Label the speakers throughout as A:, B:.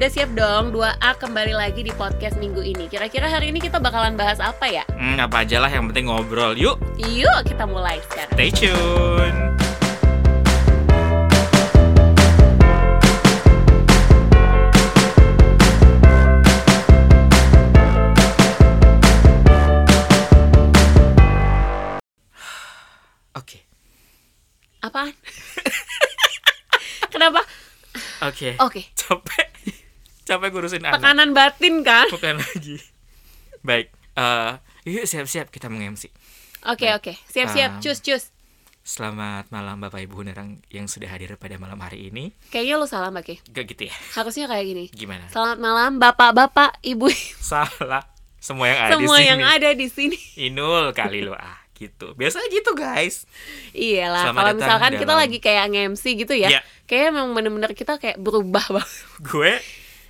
A: Udah siap dong 2A kembali lagi di podcast minggu ini. Kira-kira hari ini kita bakalan bahas apa ya?
B: Hmm, apa aja lah yang penting ngobrol. Yuk,
A: Yuk kita mulai sekarang.
B: stay tune. Oke,
A: Apaan? Kenapa?
B: oke.
A: Oke,
B: Capek. Capek ngurusin anak.
A: tekanan batin kan?
B: Bukan lagi. Baik. eh, yuk siap-siap kita meng-MC.
A: Oke, oke. Siap-siap,
B: Um,
A: cus cus.
B: Selamat malam Bapak Ibu Nerang yang sudah hadir pada malam hari ini.
A: Kayaknya lu salah, Mbak Ki.
B: Gak gitu ya?
A: Harusnya kayak gini.
B: Gimana?
A: Selamat malam Bapak-bapak, Ibu.
B: Salah. Semua yang ada
A: Semua
B: Nah, di sini.
A: yang ada di sini.
B: Inul kali lo ah gitu. Biasa gitu guys.
A: Iyalah,
B: Selamat
A: kalau
B: datang
A: misalkan kita
B: dalam-
A: lagi kayak nge-MC gitu ya.
B: Iya.
A: Kayaknya emang bener-bener kita kayak berubah banget.
B: Gue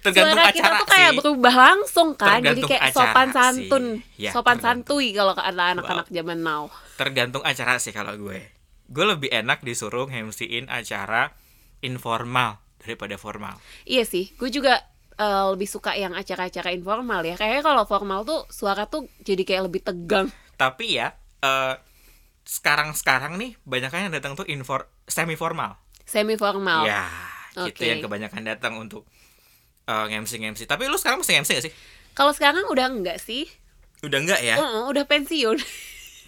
B: tergantung
A: Suara
B: acara
A: kita tuh kayak
B: sih.
A: berubah langsung kan. Jadi
B: Tergantung
A: kayak
B: acara
A: sopan
B: sih.
A: santun.
B: Ya,
A: sopan
B: tergantung.
A: santuy kalau kata anak-anak zaman now.
B: Tergantung acara sih kalau gue. Gue lebih enak disuruh MC-in acara informal daripada formal.
A: Iya sih, gue juga eh, lebih suka yang acara-acara informal ya. Kayaknya kalau formal tuh suara tuh jadi kayak lebih tegang.
B: Tapi ya eh, sekarang-sekarang nih banyak yang datang tuh infor semi formal.
A: Semi formal.
B: Ya, gitu
A: Oh, Oke.
B: yang kebanyakan datang untuk eh, MC MC. Tapi lu sekarang masih MC gak sih?
A: Kalau sekarang udah enggak sih?
B: Udah enggak ya?
A: Heeh, udah pensiun.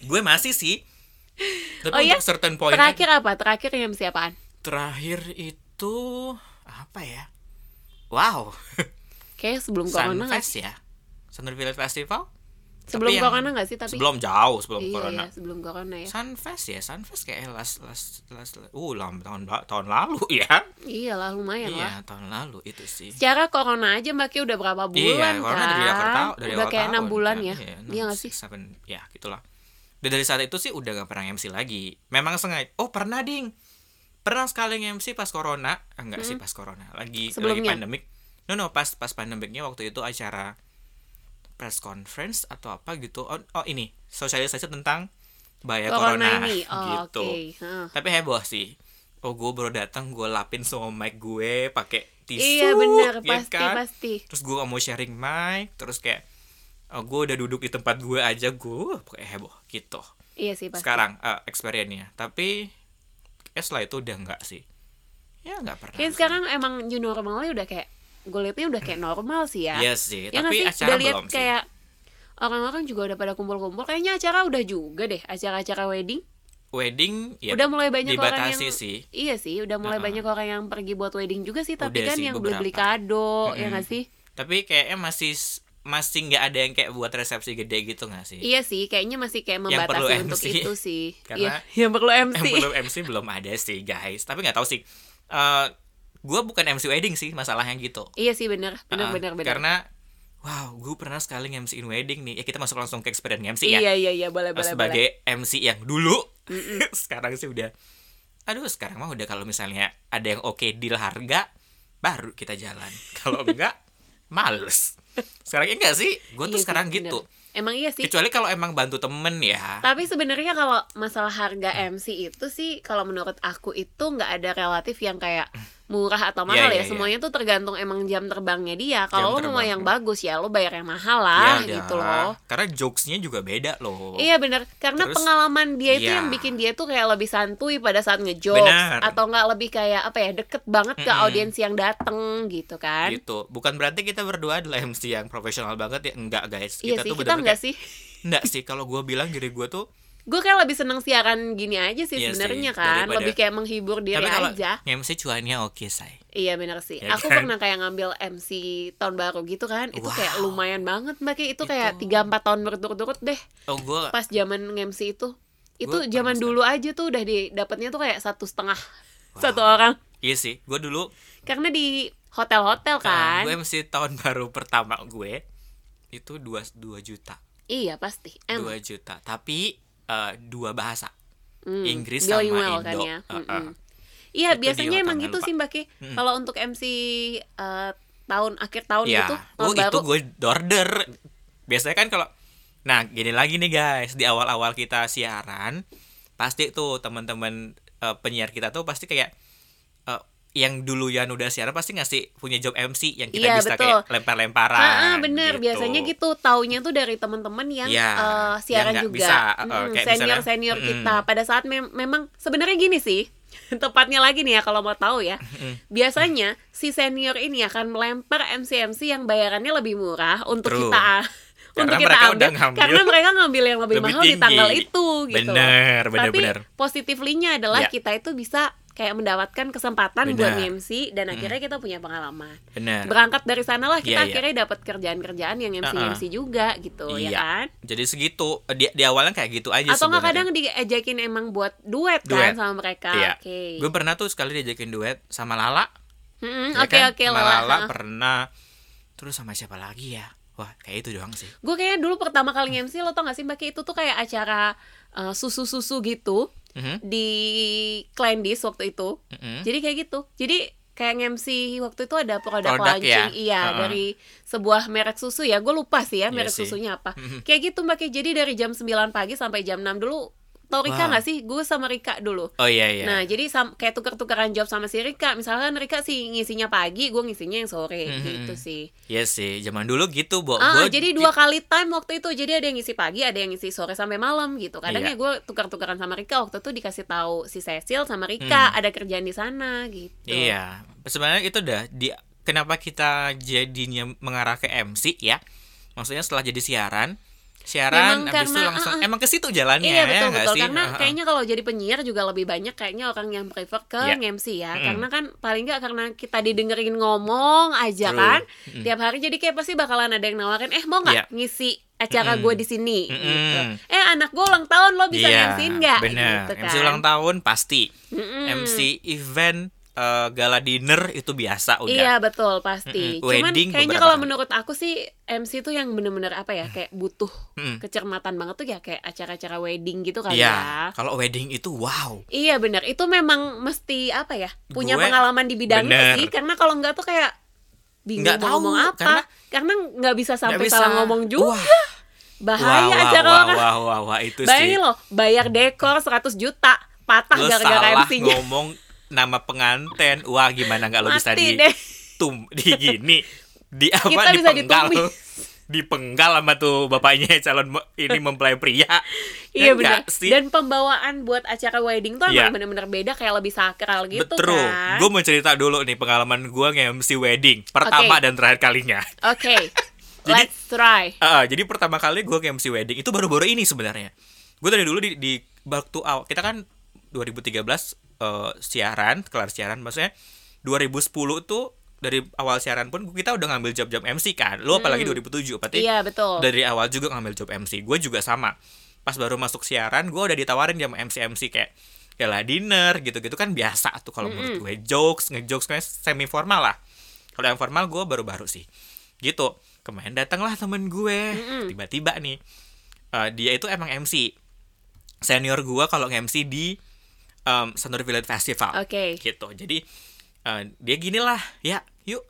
B: Gue masih sih. Tapi
A: Oh iya?
B: untuk certain point
A: Terakhir apa? Terakhir yang siapaan?
B: terakhir itu apa ya? Wow,
A: Kayaknya sebelum corona nggak sih?
B: Sunfest ya, Sunrise Village Festival.
A: Sebelum
B: yang-
A: corona nggak sih tapi?
B: Sebelum jauh sebelum
A: iya,
B: corona.
A: iya, sebelum corona ya.
B: Sunfest ya, Sunfest kayak last last last, uh lama tahun ba- tahun lalu ya.
A: Iya lah lumayan lah.
B: Iya tahun lalu itu sih.
A: Secara corona aja Mbak Ki udah berapa bulan kan?
B: iya, corona dari awal tahun, dari
A: udah
B: awal
A: kayak enam
B: tahun
A: bulan
B: kan.
A: ya.
B: Iya, enam,
A: Iya nggak sih?
B: six, seven, ya gitulah. Dan dari saat itu sih udah gak pernah MC lagi. Memang sengaja. Oh pernah ding. Pernah sekali MC pas corona. Ah, Enggak sih pas corona. Lagi lagi
A: Hmm. Sebelumnya?
B: pandemik. No no pas pas pandemiknya waktu itu acara press conference atau apa gitu. Oh, oh ini sosialisasi tentang bahaya
A: corona,
B: Ya, corona,
A: ini. Oh,
B: gitu.
A: Oke. Nah. Heeh.
B: Tapi heboh sih. Oh gue baru datang gue lapin semua mic gue pakai tisu.
A: Iya benar
B: ya
A: pasti
B: kan?
A: pasti.
B: terus gue mau sharing mic terus kayak oh, gue udah duduk di tempat gue aja gue pakai heboh gitu
A: Iya sih pasti.
B: sekarang eh, experience-nya tapi eh, setelah itu udah nggak sih ya nggak pernah
A: Kayaknya sekarang emang new normalnya udah kayak gue liatnya udah kayak normal sih ya.
B: Iya sih
A: Ya nggak
B: tapi
A: sih?
B: acara
A: udah liat
B: belum sih
A: kayak orang-orang juga udah pada kumpul-kumpul. Kayaknya acara udah juga deh acara-acara wedding.
B: wedding ya
A: udah mulai banyak orang
B: dibatasi
A: yang
B: sih
A: Iya sih, udah mulai
B: Uh-uh.
A: banyak orang yang pergi buat wedding juga sih, tapi
B: Udah
A: kan
B: sih,
A: yang beli-beli
B: beberapa.
A: kado, ya
B: Mm-mm.
A: nggak sih?
B: tapi kayaknya masih masih nggak ada yang kayak buat resepsi gede gitu nggak sih
A: Iya sih, kayaknya masih kayak
B: Yang perlu
A: membatasi untuk
B: MC.
A: itu sih.
B: Karena-
A: iya, yang perlu MC.
B: yang Eh, belum MC belum ada sih guys tapi nggak tahu sih Eh gue bukan MC wedding sih masalahnya gitu
A: Iya sih benar, benar
B: Ah,
A: benar benar.
B: Karena wow, gue pernah sekali nge-MC-in wedding nih. Ya kita masuk langsung ke experience MC ya.
A: Iya iya iya boleh boleh boleh.
B: sebagai MC yang dulu. sekarang sih udah aduh, sekarang mah udah kalau misalnya ada yang oke deal harga baru kita jalan. Kalau enggak males. Sekarang ya enggak sih? Gue
A: Iya
B: tuh
A: sih,
B: sekarang
A: benar.
B: gitu.
A: Emang iya sih.
B: Kecuali kalau emang bantu temen ya.
A: Tapi sebenarnya kalau masalah harga
B: Hmm.
A: MC itu sih kalau menurut aku itu nggak ada relatif yang kayak murah atau
B: Iya,
A: mahal
B: iya,
A: ya.
B: iya.
A: Semuanya tuh tergantung emang jam terbangnya dia.
B: Jam
A: Kalau lo mau
B: terbang.
A: yang bagus ya lo bayar yang mahal
B: Ya
A: lah
B: udah.
A: gitu loh.
B: Karena jokesnya juga beda loh.
A: Iya benar, karena
B: Terus-
A: pengalaman dia itu
B: Iya.
A: yang bikin dia tuh kayak lebih santuy pada saat ngejokes
B: Benar.
A: atau nggak lebih kayak apa ya deket banget ke
B: Mm-mm.
A: audiens yang dateng gitu kan?
B: Gitu. Bukan berarti kita berdua adalah MC yang profesional banget ya. Enggak, guys.
A: iya sih
B: tuh
A: kita
B: bener-bener
A: nggak sih.
B: Enggak sih kalau gue bilang diri gue tuh
A: Gue kayak lebih seneng siaran gini aja sih
B: Iya sih,
A: sebenarnya kan,
B: daripada-
A: lebih kayak menghibur diri
B: tapi kalau
A: Iya, aja.
B: MC cuannya oke say
A: Iya benar sih.
B: Ya
A: aku
B: kan?
A: pernah kayak ngambil MC tahun baru gitu kan. Itu
B: Wow.
A: kayak lumayan banget Mbak Ki. Itu, kayak
B: Itu-
A: 3 4 tahun berturut-turut deh
B: oh gue
A: pas zaman MC itu. Itu
B: Gua
A: zaman
B: pernah
A: dulu aja tuh udah didapatnya tuh kayak satu setengah satu orang.
B: iya sih gue dulu
A: Karena di hotel-hotel kan.
B: gue MC tahun baru pertama gue itu dua dua juta
A: Iya pasti. Em,
B: dua juta tapi eh, dua bahasa
A: mm,
B: Inggris
A: bilingual
B: sama Indo
A: kan ya.
B: Eh, eh.
A: Mm-mm. Iya
B: Itu di
A: biasanya
B: hotel,
A: emang
B: nggak
A: gitu
B: lupa.
A: sih Mbak Ki.
B: kan, Mm-mm.
A: Kalau untuk MC eh, tahun akhir tahun
B: ya
A: gitu
B: oh
A: tahun
B: itu
A: baru.
B: gue order biasanya kan kalau nah gini lagi nih guys di awal awal kita siaran pasti tuh teman teman penyiar kita tuh pasti kayak eh, yang dulu Yan udah siaran pasti ngasih punya job MC yang kita
A: Iya,
B: bisa
A: betul.
B: kayak lempar-lemparan.
A: Ah, ah, bener biasanya gitu taunya tuh dari teman-teman yang
B: Iya,
A: eh,
B: yang
A: siaran
B: nggak
A: juga
B: bisa, eh, kayak
A: senior
B: misalnya,
A: senior
B: mm.
A: kita pada saat mem- memang sebenarnya gini sih tepatnya lagi nih ya kalau mau tahu ya biasanya si senior ini akan melempar MC MC yang bayarannya lebih murah untuk
B: True.
A: kita untuk kita ambil
B: Karena mereka udah ngambil
A: karena mereka ngambil yang lebih,
B: lebih
A: mahal di
B: tinggi.
A: tanggal itu gitu loh.
B: Bener, bener,
A: tapi
B: bener.
A: positifnya adalah
B: Ya.
A: kita itu bisa kayak mendapatkan kesempatan buat
B: Benar.
A: MC dan akhirnya kita punya pengalaman
B: Bener.
A: berangkat dari sanalah kita
B: Iya, iya.
A: akhirnya dapat kerjaan-kerjaan yang MC
B: Uh-uh.
A: MC juga gitu ya
B: Iya.
A: kan
B: Jadi segitu di, di awalnya kayak gitu aja
A: atau nggak
B: sebenarnya.
A: kadang diajakin emang buat duet, kan
B: Duet.
A: sama mereka
B: Iya.
A: oke
B: Gue pernah tuh sekali diajakin duet sama Lala.
A: Mm-mm, Mm,
B: ya
A: oke
B: kan?
A: oke
B: Sama
A: Lala.
B: Lala
A: Ha.
B: pernah. Terus sama siapa lagi ya? Wah, kayak itu doang sih.
A: gue kayaknya dulu pertama kali MC lo tau gak sih mbak Ki, itu tuh kayak acara uh, susu-susu gitu
B: Mhm,
A: di Klendis waktu itu
B: mhm.
A: jadi kayak gitu jadi kayak MC waktu itu ada produk,
B: Produk ya?
A: launching iya
B: Uh-uh.
A: dari sebuah merek susu ya gue lupa sih ya
B: Iya
A: merek
B: sih.
A: susunya apa
B: Mhm.
A: kayak gitu mbak Ki. jadi dari jam 9 pagi sampai jam 6 dulu tau Rika
B: Wah.
A: nggak sih gue sama Rika dulu
B: Oh iya iya.
A: Nah, jadi sam- kayak tuker-tukeran job sama si Rika. Misalkan Rika sih ngisinya pagi, gue ngisinya yang sore
B: Mhm.
A: gitu sih.
B: Iya sih, zaman dulu gitu, Bo.
A: Ah,
B: Gua
A: jadi
B: di-
A: dua kali time waktu itu. Jadi ada yang ngisi pagi, ada yang ngisi sore sampai malam gitu. Kadang ya
B: Iya.
A: gue tukar-tukaran sama Rika waktu itu dikasih tahu si Cecil sama Rika ada kerjaan di sana gitu.
B: Hmm. Iya, sebenarnya itu dah. Di kenapa kita jadinya mengarah ke MC ya? Maksudnya setelah jadi siaran, siaran
A: Memang
B: habis itu
A: karena,
B: langsung
A: ah, ah.
B: emang ke situ jalannya
A: Iya
B: ya
A: betul
B: nggak
A: betul
B: sih?
A: karena
B: Ah, ah.
A: kayaknya kalau jadi penyiar juga lebih banyak kayaknya orang yang prefer ke
B: Iya.
A: MC ya
B: Mm-mm.
A: karena kan paling nggak karena kita didengerin ngomong aja
B: True.
A: kan
B: Mm-mm.
A: tiap hari jadi kayak pasti bakalan ada yang nawarin eh mau nggak
B: Iya.
A: ngisi acara
B: Mm-mm.
A: gue di sini
B: Mm-mm.
A: gitu eh anak gue ulang tahun lo bisa
B: Iya,
A: ngemsin nggak
B: Bener.
A: gitu kan Hmm.
B: MC ulang tahun pasti.
A: Mm-mm.
B: MC event eh, gala dinner itu biasa udah.
A: Iya betul pasti.
B: Mm-mm.
A: Cuman
B: Wedding
A: kayaknya
B: beberapa
A: kalau
B: kali.
A: menurut aku sih MC tuh yang bener-bener apa ya kayak butuh
B: Mm-mm.
A: kecermatan banget tuh ya kayak acara-acara wedding gitu kali
B: Iya,
A: ya.
B: kalau wedding itu wow.
A: Iya benar, itu memang mesti apa ya punya
B: Gue-
A: pengalaman di bidangnya
B: bener.
A: sih, karena kalau nggak tuh kayak bingung
B: Nggak
A: mau
B: tahu,
A: ngomong apa, karena,
B: karena-
A: nggak bisa sampai
B: Nggak bisa.
A: salah ngomong juga,
B: Wah,
A: bahaya
B: wah, wah,
A: acara
B: wah,
A: orang.
B: wah, wah, wah, itu sih.
A: Bayangin loh, bayar dekor 100 juta, patah
B: Lo
A: gara-gara
B: salah
A: MC-nya.
B: ngomong nama penganten. Wah, gimana nggak lo bisa
A: Mati
B: di
A: deh.
B: tum di gini di apa
A: Kita bisa
B: dipenggal
A: ditumis.
B: dipenggal sama tuh bapaknya calon me- ini mempelai pria
A: Iya
B: Ya
A: benar.
B: nggak sih?
A: Dan pembawaan buat acara wedding tuh
B: Iya.
A: emang bener-bener beda kayak lebih sakral gitu
B: Betul.
A: kan.
B: Gue mau cerita dulu nih pengalaman gue nge-MC wedding pertama
A: Oke.
B: dan terakhir kalinya.
A: Oke.
B: Jadi-
A: Let's try.
B: Ah, jadi pertama kali gue nge-MC wedding itu baru-baru ini sebenarnya. Gue dari dulu di, di waktu awal kita kan 2013 eh, siaran kelar siaran maksudnya 2010 tuh dari awal siaran pun kita udah ngambil job-job MC kan. Lu apalagi 2007 berarti
A: Iya betul.
B: dari awal juga ngambil job MC gue juga sama pas baru masuk siaran gue udah ditawarin sama MC MC kayak gala dinner gitu-gitu kan biasa tuh kalau menurut gue jokes ngejokes kayak semi formal lah kalau yang formal gue baru-baru sih gitu kemarin datanglah temen gue tiba-tiba nih eh, dia itu emang MC senior gue kalau MC di um, Sonora Village Festival
A: Oke.
B: gitu jadi eh, dia gini lah ya yuk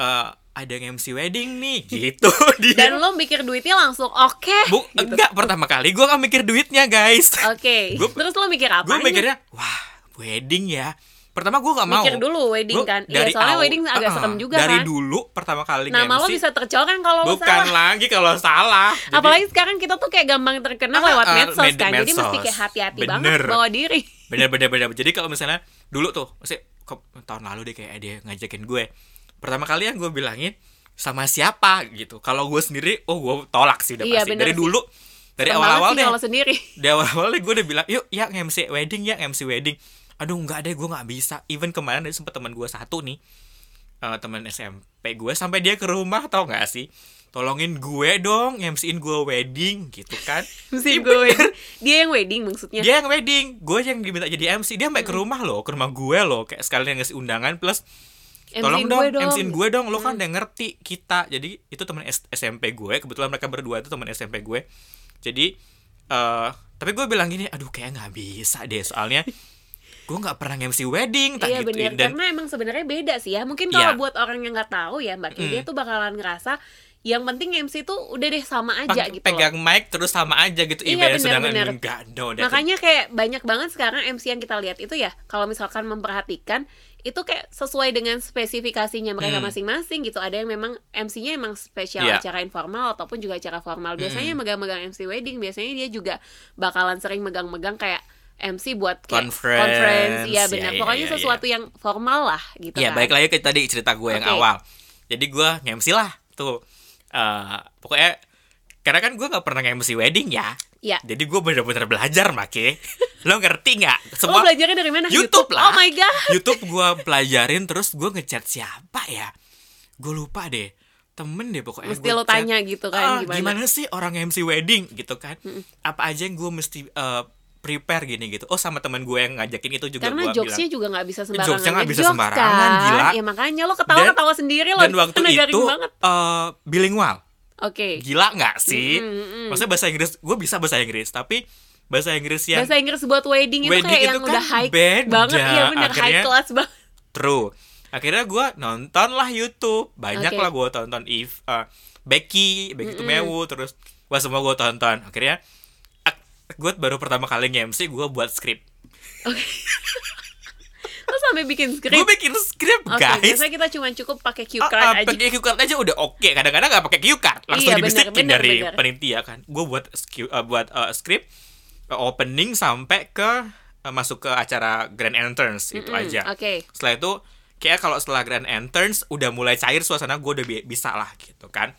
B: eh, ada yang MC wedding nih gitu dia
A: Dan gitu. lo mikir duitnya langsung oke.
B: Bu, enggak pertama kali gue kan mikir duitnya guys.
A: Oke.
B: Gua-
A: Terus lo mikir apa?
B: gue mikirnya, wah wedding ya. Pertama gue gak mau.
A: Mikir dulu wedding
B: Gua
A: kan. Iya,
B: dari
A: soalnya
B: awal-
A: wedding agak
B: Ah,
A: serem juga
B: Dari
A: kan.
B: dulu pertama kali
A: Nama lo
B: nge-MC,
A: bisa tercoreng kalau lo
B: bukan
A: salah.
B: lagi kalau salah. Jadi,
A: Apalagi sekarang kita tuh kayak gampang terkenal
B: Ah,
A: lewat
B: ah,
A: medsos
B: med-
A: kan. Jadi
B: medsos.
A: mesti kayak hati-hati banget
B: Bener.
A: bawa diri.
B: bener bener bener. Jadi kalau misalnya dulu tuh, masih ke- tahun lalu deh kayak dia ngajakin gue. Pertama kali yang gue bilangin sama siapa gitu. Kalau gue sendiri, oh gue tolak sih udah
A: Iya,
B: pasti.
A: bener
B: Dari
A: sih.
B: dulu, dari
A: Serem
B: awal-awal
A: banget sih
B: deh.
A: kalau sendiri.
B: di awal-awalnya gue udah bilang yuk ya MC wedding ya MC wedding aduh nggak deh gue nggak bisa even kemarin ada sempet teman gue satu nih eh, teman SMP gue sampai dia ke rumah tau nggak sih tolongin gue dong MCin gue wedding gitu kan
A: Mesti gue. Dia yang wedding maksudnya.
B: dia yang wedding gue yang diminta jadi MC dia sampai ke rumah loh ke rumah gue loh kayak sekalian ngasih undangan plus tolong
A: MC-in
B: dong, MCin gue dong lo
A: Mm.
B: kan udah ngerti kita jadi itu teman S- SMP gue kebetulan mereka berdua itu teman SMP gue jadi eh tapi gue bilang gini aduh kayak nggak bisa deh soalnya gue nggak pernah MC wedding tak
A: Iya benar
B: gituin gitu. dan
A: karena emang sebenarnya beda sih ya. Mungkin kalau
B: Iya. Hmm.
A: buat orang yang nggak tahu ya Mbak Ki, dia tuh bakalan ngerasa yang penting MC tuh udah deh sama aja
B: Pak-
A: gitu loh.
B: pegang mic terus sama aja gitu
A: Iya,
B: ibaratnya
A: benar,
B: sedangkan
A: benar.
B: enggak no that-
A: Makanya kayak banyak banget sekarang MC yang kita lihat itu ya, kalau misalkan memperhatikan itu kayak sesuai dengan spesifikasinya mereka
B: Hmm.
A: masing-masing gitu. Ada yang memang MC-nya emang spesial
B: Iya. Hmm.
A: acara informal ataupun juga acara formal. Biasanya megang-megang MC wedding, biasanya dia juga bakalan sering megang-megang kayak MC buat kayak
B: Conference.
A: Iya
B: Iya,
A: benar.
B: iya,
A: Pokoknya
B: iya,
A: sesuatu yang formal lah gitu kan.
B: Iya, balik lagi ke tadi cerita gue yang
A: Oke.
B: awal. Jadi gue nge-MC lah tuh. Eh, pokoknya karena kan gue nggak pernah nge-MC wedding ya.
A: Iya.
B: Jadi gue bener-bener belajar make. Lo ngerti
A: Lo
B: nggak? Semua
A: belajarnya dari mana?
B: YouTube
A: Oh
B: lah.
A: my god.
B: YouTube gue pelajarin terus gue ngechat siapa ya? Gue lupa deh. Temen deh pokoknya.
A: Mesti
B: gua
A: lo
B: chat.
A: tanya gitu
B: Ah,
A: kan
B: gimana?
A: gimana?
B: sih orang MC wedding gitu kan? Apa aja yang gue mesti eh, prepare gini gitu? Oh sama teman gue yang ngajakin itu juga
A: Karena
B: gue bilang.
A: jokesnya juga nggak bisa sembarangan
B: Jokesnya nggak bisa
A: ngejokes,
B: sembarangan,
A: kan?
B: gila.
A: ya makanya lo ketawa ketawa sendiri lo
B: dan waktu
A: kan, negarin
B: itu
A: banget
B: eh, bilingual
A: oke
B: gila nggak sih
A: Mm, mm, mm.
B: maksudnya bahasa Inggris gue bisa bahasa Inggris tapi bahasa Inggris yang
A: bahasa Inggris buat wedding itu
B: Wedding
A: kayak
B: itu
A: yang
B: kan
A: udah high
B: beda,
A: banget iya bener high
B: akhirnya.
A: class banget
B: true akhirnya gue nonton lah YouTube banyak
A: Oke.
B: lah gue tonton if eh, Becky Becky Tumewu terus wah semua gue tonton akhirnya gue baru pertama kali nge-MC gue buat skrip
A: lo sampai bikin
B: gue
A: script
B: bikin skrip
A: oke
B: guys
A: biasanya kita cuma cukup pakai cue
B: Ah,
A: card
B: ah,
A: aja
B: pakai cue card aja udah oke kadang-kadang nggak pakai cue card langsung
A: Iya, bener,
B: dibisikin
A: bener,
B: dari
A: bener.
B: penitia kan gue buat skew- eh, buat eh, script eh, opening sampai ke eh, masuk ke acara grand entrance itu
A: Mm,
B: aja
A: oke
B: setelah itu kayak kalau setelah grand entrance udah mulai cair suasana gue udah bi- bisa lah gitu kan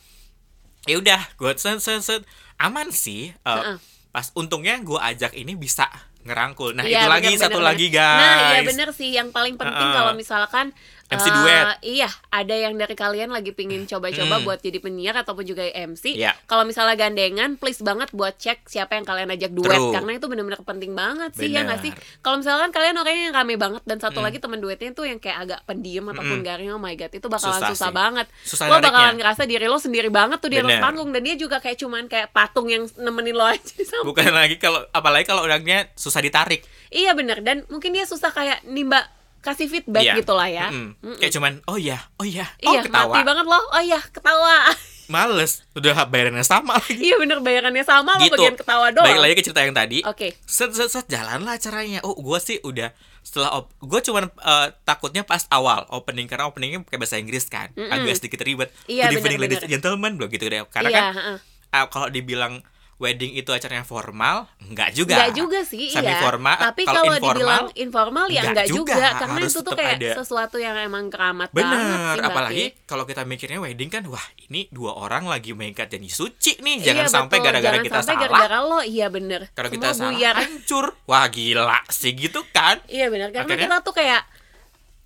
B: ya udah gue set set set aman sih eh,
A: Heeh.
B: pas untungnya gue ajak ini bisa ngerangkul nah
A: Iya,
B: itu
A: bener,
B: lagi
A: bener,
B: satu
A: bener.
B: lagi guys
A: Nah, iya bener sih yang paling penting
B: Heeh.
A: kalau misalkan
B: MC
A: eh,
B: duet.
A: Iya, ada yang dari kalian lagi pingin coba-coba
B: Hmm.
A: buat jadi penyiar ataupun juga MC.
B: Iya.
A: Kalau misalnya gandengan, please banget buat cek siapa yang kalian ajak duet
B: True.
A: karena itu benar-benar penting banget sih ya
B: Bener.
A: nggak sih? Kalau misalkan kalian orangnya yang rame banget dan satu
B: Hmm.
A: lagi teman duetnya tuh yang kayak agak pendiam ataupun garing, oh my god, itu bakalan susah,
B: Susah sih.
A: banget.
B: Susah
A: lo
B: nariknya.
A: bakalan ngerasa diri lo sendiri banget tuh di atas
B: Bener.
A: panggung dan dia juga kayak cuman kayak patung yang nemenin lo aja di samping.
B: bukan lagi kalau apalagi kalau orangnya susah ditarik
A: Iya bener dan mungkin dia susah kayak nimba kasih feedback
B: Iya.
A: gitu lah ya.
B: Mm-mm.
A: Mm-mm.
B: Kayak cuman oh iya, oh iya, oh
A: iya
B: ketawa.
A: mati banget loh. Oh iya ketawa.
B: Males, udah bayarannya sama lagi.
A: iya bener bayarannya sama lo
B: gitu.
A: bagian ketawa doang.
B: Balik lagi ke cerita yang tadi.
A: Oke.
B: Set set set jalanlah acaranya. Oh, gua sih udah setelah op- gua cuman eh, takutnya pas awal opening karena openingnya pakai bahasa Inggris kan.
A: Mm-mm.
B: Agak sedikit ribet.
A: Iya,
B: Good evening
A: bener-bener.
B: ladies and gentlemen belum gitu deh. Karena
A: iya,
B: kan
A: heeh.
B: eh, kalau dibilang wedding itu acaranya formal, enggak juga.
A: Nggak juga sih,
B: Semi
A: iya.
B: formal,
A: Tapi
B: kalau
A: kalau
B: informal,
A: dibilang informal ya
B: nggak
A: enggak juga,
B: juga.
A: karena
B: Harus
A: itu tuh
B: tetap
A: kayak
B: ada.
A: sesuatu yang emang keramat banget
B: Bener,
A: sih. Mbak
B: apalagi
A: Ki.
B: kalau kita mikirnya wedding kan, wah ini dua orang lagi mengikat janji suci nih,
A: Iya,
B: jangan sampai
A: betul.
B: gara-gara
A: Jangan
B: kita
A: sampai
B: salah.
A: gara-gara lo, iya bener.
B: Kalau
A: Semua
B: kita salah
A: buyar.
B: hancur. Wah gila sih gitu kan.
A: Iya bener, karena
B: Akhirnya-
A: kita tuh kayak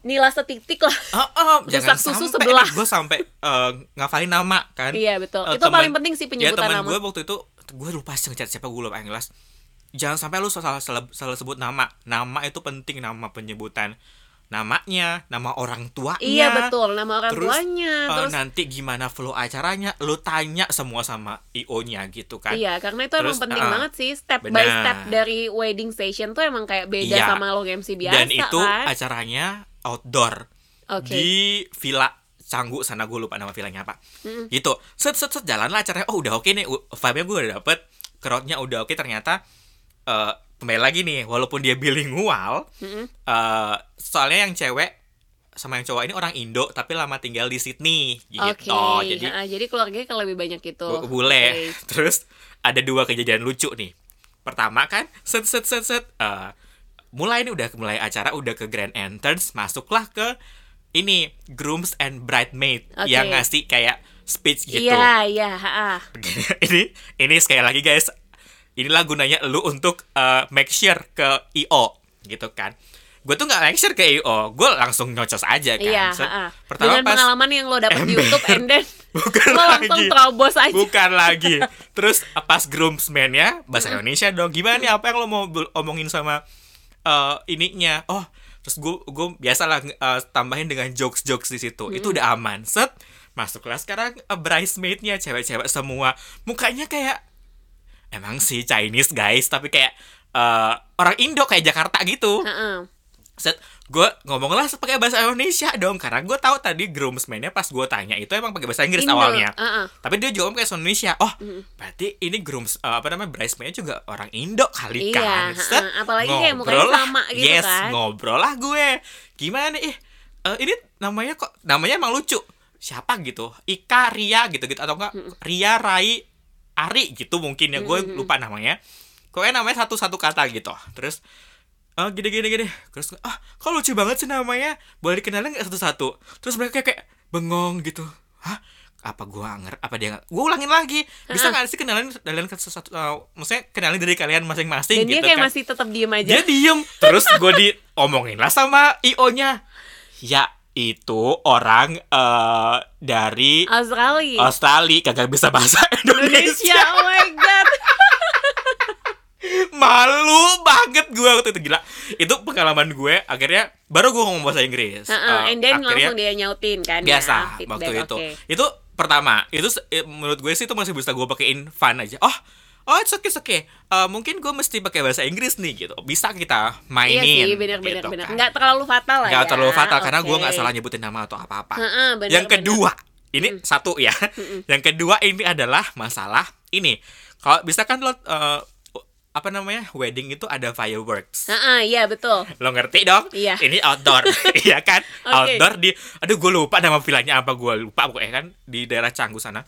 A: nilai setitik lah.
B: Oh, oh,
A: Rusak
B: jangan
A: susu
B: sampai
A: sebelah.
B: Gue sampai eh, ngafalin nama kan.
A: Iya, betul.
B: Eh,
A: Itu paling penting sih penyebutan
B: ya, teman
A: nama.
B: gue waktu itu gue lupa sih ngechat siapa gue lupa yang jelas. Jangan sampai lu salah, salah salah sebut nama. Nama itu penting nama penyebutan namanya, nama orang tuanya.
A: Iya betul, nama orang
B: Terus,
A: tuanya,
B: eh,
A: terus
B: nanti gimana flow acaranya, lu tanya semua sama IO-nya gitu kan.
A: Iya, karena itu emang
B: Terus,
A: penting
B: uh,
A: banget sih step by
B: benar.
A: step dari wedding session tuh emang kayak beda
B: Iya.
A: sama lo MC biasa
B: Dan itu
A: kan.
B: acaranya outdoor.
A: Oke.
B: Di villa Canggu sana gue lupa nama villanya apa.
A: Mm-mm.
B: Gitu. Set set set jalan lah acaranya. Oh, udah oke nih. U- Vibe-nya gue udah dapet. Crowd-nya udah oke ternyata eh kembali lagi nih, walaupun dia bilingual,
A: Mm-mm.
B: eh soalnya yang cewek sama yang cowok ini orang Indo tapi lama tinggal di Sydney gitu.
A: Oke.
B: Jadi
A: Nah, jadi keluarganya kalau lebih banyak itu.
B: Bu-
A: Gitu. Oke.
B: bule terus ada dua kejadian lucu nih pertama kan set set set set eh, mulai nih udah mulai acara udah ke grand entrance masuklah ke ini grooms and bridesmaid
A: Oke.
B: yang ngasih kayak speech gitu
A: Iya, iya, ha-ha.
B: ini ini sekali lagi guys inilah gunanya lu untuk eh, make sure ke io gitu kan gue tuh nggak make sure ke io gue langsung nyocos aja kan
A: Iya,
B: Set.
A: ha-ha.
B: pertama
A: Dengan
B: pas
A: pengalaman yang lo dapet di
B: ember.
A: YouTube and then
B: bukan
A: lo langsung
B: lagi
A: terobos aja.
B: Bukan lagi. Terus eh, pas groomsman-nya bahasa Indonesia dong. Gimana nih apa yang lo mau bel- omongin sama eh, ininya? Oh, terus gue gue biasalah eh, tambahin dengan jokes-jokes di situ. Itu udah aman. Set masuklah sekarang eh, bridesmaid-nya cewek-cewek semua. Mukanya kayak emang sih Chinese guys, tapi kayak eh, orang Indo kayak Jakarta gitu.
A: Ha-ha.
B: set gue ngomonglah pakai bahasa Indonesia dong karena gue tahu tadi groomsmennya pas gue tanya itu emang pakai bahasa Inggris
A: Indo,
B: awalnya
A: uh-uh.
B: tapi dia juga ngomong kayak bahasa Indonesia oh berarti ini grooms eh, apa namanya bridesmaidnya juga orang Indo
A: Iya,
B: kali kan set
A: uh-uh. Apalagi kayak mukanya
B: ngobrol lah.
A: sama gitu
B: yes,
A: kan.
B: ngobrol lah gue gimana nih eh, ini namanya kok namanya emang lucu siapa gitu Ika Ria gitu gitu atau enggak Ria Rai Ari gitu mungkin ya gue lupa namanya Pokoknya namanya satu-satu kata gitu terus ah gini gini gini terus ah kok lucu banget sih namanya boleh dikenalin nggak satu-satu terus mereka kayak, kayak bengong gitu hah apa gua ngerti apa dia nggak- gua ulangin lagi bisa nggak sih kenalin kalian ke satu eh, maksudnya kenalin dari kalian masing-masing
A: Dan
B: gitu
A: dia kayak
B: kan
A: masih tetap diem aja.
B: dia diem terus gue diomongin lah sama io nya ya itu orang eh, dari
A: Australia.
B: Australia kagak bisa bahasa
A: Indonesia,
B: Indonesia
A: oh my god.
B: malu banget gue waktu itu gila itu pengalaman gue akhirnya baru gue ngomong bahasa Inggris
A: Uh-uh,
B: Eh,
A: and then
B: akhirnya
A: langsung dia nyautin kan. ya,
B: biasa
A: feedback,
B: waktu itu
A: oke.
B: itu pertama itu se- eh, menurut gue sih itu masih bisa gue pakein fun aja oh oh it's okay it's okay Eh, mungkin gue mesti pakai bahasa Inggris nih gitu bisa kita
A: Iya
B: mainin
A: sih, benar-benar
B: gitu
A: benar.
B: kan.
A: Nggak terlalu fatal lah.
B: Nggak
A: ya.
B: terlalu fatal karena gue nggak
A: Oke.
B: salah nyebutin nama atau apa-apa
A: Heeh, benar,
B: yang
A: benar.
B: kedua ini
A: Mm.
B: satu ya yang kedua ini adalah masalah ini kalau bisa kan lo eh, apa namanya wedding itu ada fireworks
A: Heeh, iya betul.
B: lo ngerti dong
A: Iya.
B: ini outdoor iya kan
A: Oke.
B: outdoor di aduh gue lupa nama villanya apa gue lupa pokoknya kan di daerah Canggu sana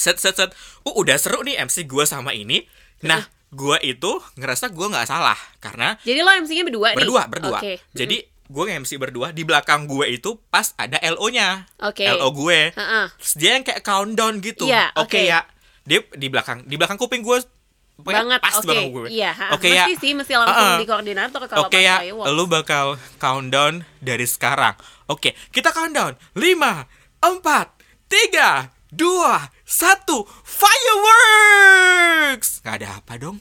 B: set set set uh udah seru nih MC gue sama ini nah gue itu ngerasa gue nggak salah karena
A: Jadi lo MC-nya berdua, nih.
B: berdua berdua
A: Eh, Oke.
B: jadi gue nge-MC berdua di belakang gue itu pas ada LO nya
A: Oke.
B: LO gue
A: Heeh.
B: Terus dia yang kayak countdown gitu
A: Iya,
B: oke
A: oke.
B: ya dia di belakang di belakang kuping gue pokoknya
A: Banget.
B: pas di
A: Oke.
B: belakang gue
A: Iya, ha,
B: oke ya
A: mesti sih mesti langsung
B: Heeh.
A: di koordinator kalau
B: Oke
A: pas
B: ya,
A: fireworks.
B: lu bakal countdown dari sekarang. Oke, kita countdown. 5, 4, 3, 2, 1. Fireworks! Nggak ada apa dong?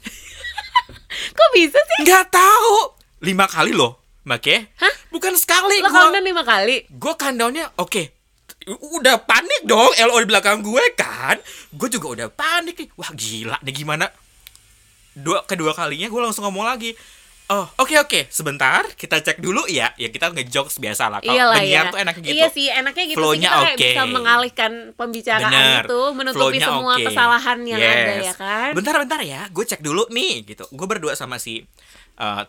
A: Kok bisa sih?
B: Nggak tahu. 5 kali loh. Make?
A: Hah?
B: Bukan sekali
A: Lo
B: gua.
A: countdown lima kali.
B: Gua countdownnya oke. U- Udah panik dong LO di belakang gue kan. Gue juga udah panik nih. Wah, gila nih gimana? dua kedua kalinya gue langsung ngomong lagi oh oke oke sebentar kita cek dulu ya ya kita ngejokes biasa lah kalau
A: Iyalah
B: penyiar
A: ya.
B: Oh, tuh enaknya gitu
A: Iya sih, enaknya gitu sih
B: Flow-nya
A: kita kayak
B: oke.
A: bisa mengalihkan pembicaraan
B: Bener.
A: itu, menutupi
B: Flow-nya
A: semua
B: oke.
A: kesalahan yang ada
B: Yes.
A: ya kan.
B: Bentar bentar ya, gue cek dulu nih gitu. Gue berdua sama si uh,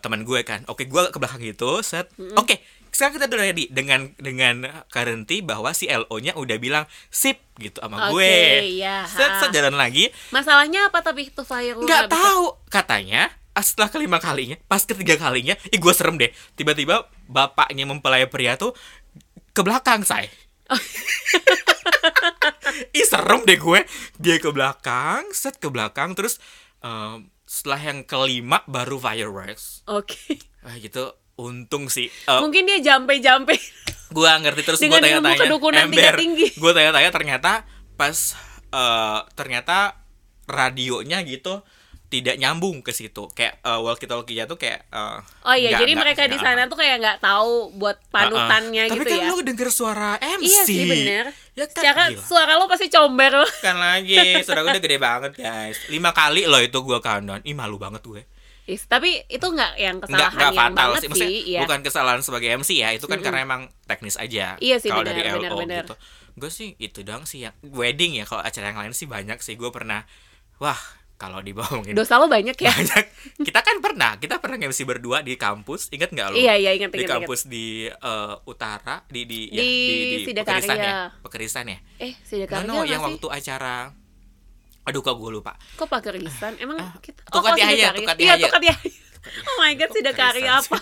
B: teman gue kan. Oke, gue ke belakang gitu, set. Oke, sekarang kita udah ready dengan dengan currency bahwa si LO-nya udah bilang sip gitu sama
A: Oke,
B: gue.
A: ya.
B: Set, set jalan lagi.
A: Masalahnya apa tapi itu fireworks?
B: Nggak
A: bisa-
B: tahu katanya ah, setelah kelima kalinya, pas ketiga kalinya, ih gue serem deh. Tiba-tiba bapaknya mempelai pria tuh ke belakang, say. ih serem deh gue. Dia ke belakang, set ke belakang, terus em, setelah yang kelima baru fireworks.
A: Oke.
B: Ah, gitu. Untung sih. Eh,
A: Mungkin dia jampe-jampe.
B: gua ngerti terus gua
A: Dengan ilmu
B: tanya-tanya
A: kedukunan tingkat tinggi.
B: gua tanya-tanya ternyata pas eh, ternyata radionya gitu tidak nyambung ke situ kayak eh, walkie talkie tuh kayak eh,
A: Oh iya,
B: nggak-
A: jadi
B: nggak-
A: mereka di
B: nggak-
A: sana tuh kayak nggak tahu buat panutannya
B: Heeh.
A: gitu
B: tapi kan
A: ya.
B: lu denger suara MC
A: Iya sih bener.
B: ya kan
A: Secara
B: gila.
A: suara lo pasti comber lo.
B: kan lagi suara gue udah gede banget guys lima kali loh itu gua countdown ih malu banget gue
A: Is, tapi itu nggak yang
B: nggak
A: kesalahan
B: nggak
A: yang
B: fatal
A: banget
B: sih,
A: sih.
B: maksudnya
A: Iya.
B: bukan kesalahan sebagai MC ya itu kan karena emang teknis aja
A: Iya sih,
B: kalau
A: benar,
B: dari LO
A: benar, benar.
B: gitu gue sih itu doang sih yang wedding ya kalau acara yang lain sih banyak sih gue pernah wah kalau dibohongin
A: Dosa lo banyak ya.
B: banyak kita kan pernah kita pernah MC berdua di kampus ingat nggak lu
A: Iya, iya, ingat,
B: di
A: ingat,
B: kampus di eh, utara di di ya,
A: Di Sidakarya.
B: Pekeristan ya Pekeristan ya
A: eh, sidakarya
B: no, no, yang
A: nggak sih?
B: waktu acara aduh kok gue lupa
A: Kok pakai risan?
B: Eh,
A: Emang kita
B: Tukat
A: kalau
B: Yahya,
A: Sidakarya.
B: Tukat
A: Iya,
B: Yahya.
A: Tukat Yahya. Oh my god,
B: Tukat
A: sidakarya
B: Yahya.
A: apa?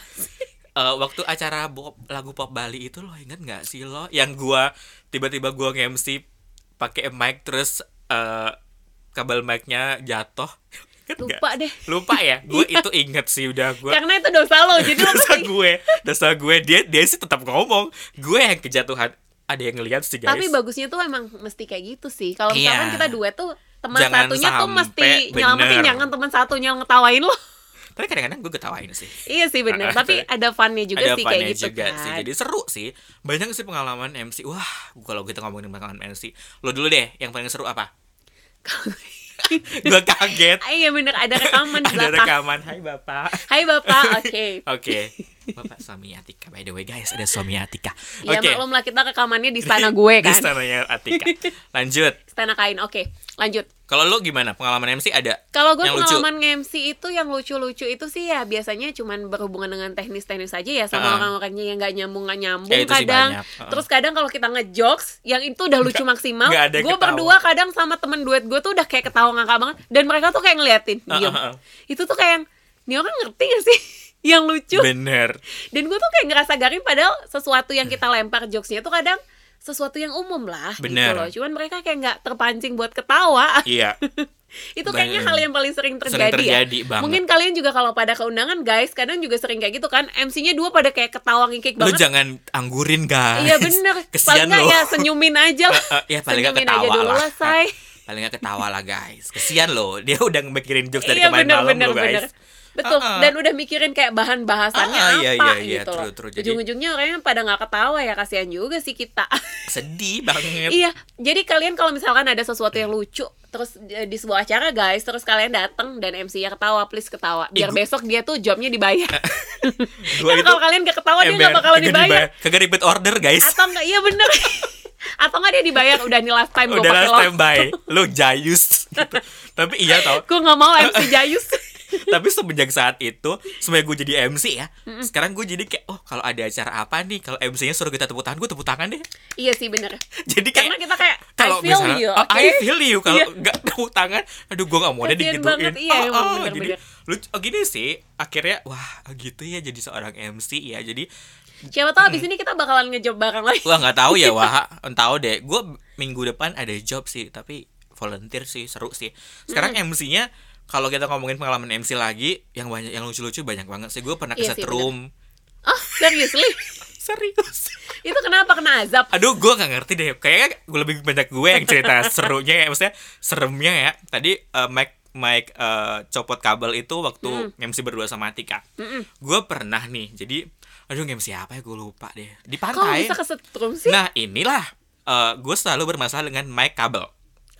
B: Eh, waktu acara bo- lagu pop Bali itu lo inget nggak sih lo yang gua tiba-tiba gua nge-MC pakai mic terus eh, kabel mic-nya jatuh Ingat nggak?
A: Lupa Iya. deh.
B: lupa ya gue itu inget sih udah gue
A: Karena itu dosa lo, jadi lo
B: dosa
A: mesti
B: gue dosa gue dia dia sih tetap ngomong gue yang kejatuhan ada yang ngeliat sih guys
A: Tapi bagusnya tuh emang mesti kayak gitu sih. Kalau
B: Iya.
A: misalkan kita duet tuh teman
B: Jangan
A: satunya tuh
B: sampai,
A: mesti nyelamatin
B: bener.
A: jangan teman satunya ngetawain lo.
B: tapi kadang-kadang gue ketawain sih
A: iya sih bener,
B: Ah, ah,
A: tapi ada funnya juga
B: ada
A: sih kayak
B: funnya
A: gitu
B: juga
A: kan.
B: sih jadi seru sih banyak sih pengalaman MC wah kalau kita ngomongin pengalaman MC lo dulu deh yang paling seru apa gue kaget
A: Ah, Iya bener ada rekaman di
B: ada
A: belakang.
B: rekaman hai bapak
A: Hai bapak, oke.
B: oke Bapak suaminya Atika. By the way guys, ada suaminya Atika.
A: Ya maklumlah kita rekamannya di istana gue
B: Di
A: kan.
B: istananya Atika. Lanjut.
A: Istana kain. Oke, lanjut.
B: Kalau lu gimana? Pengalaman MC ada?
A: Kalau gue
B: Yang lucu.
A: pengalaman nge-MC itu yang lucu-lucu itu sih ya biasanya cuman berhubungan dengan teknis-teknis aja ya sama
B: Heeh.
A: orang-orangnya yang nggak nyambung nggak nyambung
B: Ya, itu sih
A: kadang.
B: banyak. Heeh.
A: Terus kadang kalau kita ngejokes yang itu udah lucu maksimal.
B: nggak ada yang
A: Gue
B: ketawa.
A: berdua kadang sama temen duet gue tuh udah kayak ketawa ngakak banget dan mereka tuh kayak ngeliatin
B: Heeh,
A: diem.
B: heeh.
A: Itu tuh kayak yang, ini orang ngerti gak sih yang lucu?
B: Bener.
A: Dan gue tuh kayak ngerasa garing padahal sesuatu yang kita lempar jokesnya tuh kadang sesuatu yang umum lah gitu
B: Bener.
A: loh. Cuman mereka kayak nggak terpancing buat ketawa.
B: Iya.
A: itu kayaknya
B: Bener.
A: hal yang paling sering
B: Sering
A: terjadi,
B: terjadi
A: ya.
B: banget.
A: Mungkin kalian juga kalau pada keundangan guys, kadang juga sering kayak gitu kan. MC-nya dua pada kayak ketawa ngikik
B: Lu
A: banget.
B: jangan anggurin guys.
A: Iya bener.
B: Kesian
A: paling nggak
B: lu.
A: ya senyumin aja lah.
B: Eh, eh, ya, paling nggak
A: senyumin aja
B: ketawa
A: dulu
B: lah.
A: lah, say.
B: Paling gak ketawa lah guys. Kesian loh. Dia udah mikirin jokes dari
A: Iya
B: kemarin
A: bener
B: malam
A: bener
B: loh guys.
A: bener. Betul.
B: Ah, ah.
A: Dan udah mikirin kayak bahan bahasannya
B: Ah, ah, iya,
A: apa
B: iya, iya,
A: gitu
B: true,
A: loh.
B: true. Jadi-
A: Ujung-ujungnya orangnya pada nggak ketawa ya kasihan juga sih kita.
B: Sedih banget.
A: Iya, jadi kalian kalau misalkan ada sesuatu yang lucu terus eh, di sebuah acara guys, terus kalian datang dan MC-nya ketawa, please ketawa.
B: Ih,
A: Biar
B: gua-
A: besok dia tuh jobnya dibayar. Karena
B: Gua itu
A: Kan kalau kalian gak ketawa dia gak bakalan
B: kagak
A: dibayar.
B: Kagak ribet order guys.
A: Atau enggak, iya bener. Atau enggak dia dibayar udah nih last time gue
B: Udah
A: Kan pakai
B: lah
A: lo.
B: standby. Lu jayus gitu. Tapi iya tau.
A: Gue gak mau MC Jayus.
B: Tapi semenjak saat itu, semenjak gue jadi MC ya, sekarang gue jadi kayak, oh kalau ada acara apa nih, kalau MC-nya suruh kita tepuk tangan, gue tepuk tangan deh.
A: iya sih bener.
B: Jadi kayak
A: Karena kita kayak
B: kalau
A: I feel
B: misalnya,
A: you,
B: oh,
A: oke?
B: I feel you kalau
A: Iya.
B: nggak tepuk tangan, aduh gue nggak mau deh
A: Kasian
B: digituin.
A: banget, iya,
B: Oh,
A: emang
B: oh,
A: bener,
B: jadi
A: bener.
B: lucu oh, gini sih, akhirnya wah gitu ya jadi seorang MC ya. Jadi
A: Siapa tahu abis ini kita bakalan ngejob bareng lagi.
B: gua nggak tahu ya wah, tahu deh. Gue minggu depan ada job sih, tapi volunteer sih seru sih. Sekarang
A: Hmm.
B: MC-nya kalau kita ngomongin pengalaman MC lagi, yang banyak yang lucu-lucu banyak banget sih. Gue pernah
A: Iya sih,
B: kesetrum.
A: Oh, seriously?
B: Serius.
A: Itu kenapa kena azab?
B: Aduh, gue gak ngerti deh. Kayaknya gue lebih banyak gue yang cerita serunya ya, maksudnya seremnya ya. Tadi eh, Mike Mike eh, copot kabel itu
A: Hmm.
B: waktu MC berdua sama Atika. Gue pernah nih. Jadi, aduh MC apa ya gue lupa deh. Di
A: Kok
B: pantai.
A: bisa kesetrum sih?
B: nah inilah eh, gue selalu bermasalah dengan mic kabel.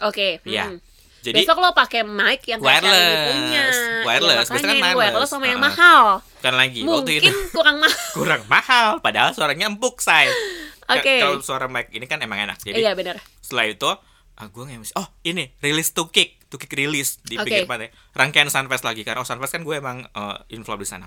A: Oke.
B: Ya.
A: hmm.
B: Jadi
A: Besok lo pakai mic yang kayak Shelly
B: Wireless.
A: punya.
B: Wireless.
A: Ya,
B: Biasanya
A: makanya
B: kan
A: yang wireless sama yang
B: wireless.
A: mahal.
B: bukan kan lagi waktu itu
A: Mungkin kurang mahal.
B: kurang mahal. Padahal suaranya empuk say. Ka-
A: Oke.
B: Kalau suara mic ini kan emang enak. Jadi
A: Iya benar.
B: setelah itu ah, gue nge-MC oh ini rilis to kick to kick rilis di
A: Oke.
B: pinggir pantai rangkaian sunfest lagi karena oh, sunfest kan gue emang eh, inflow di sana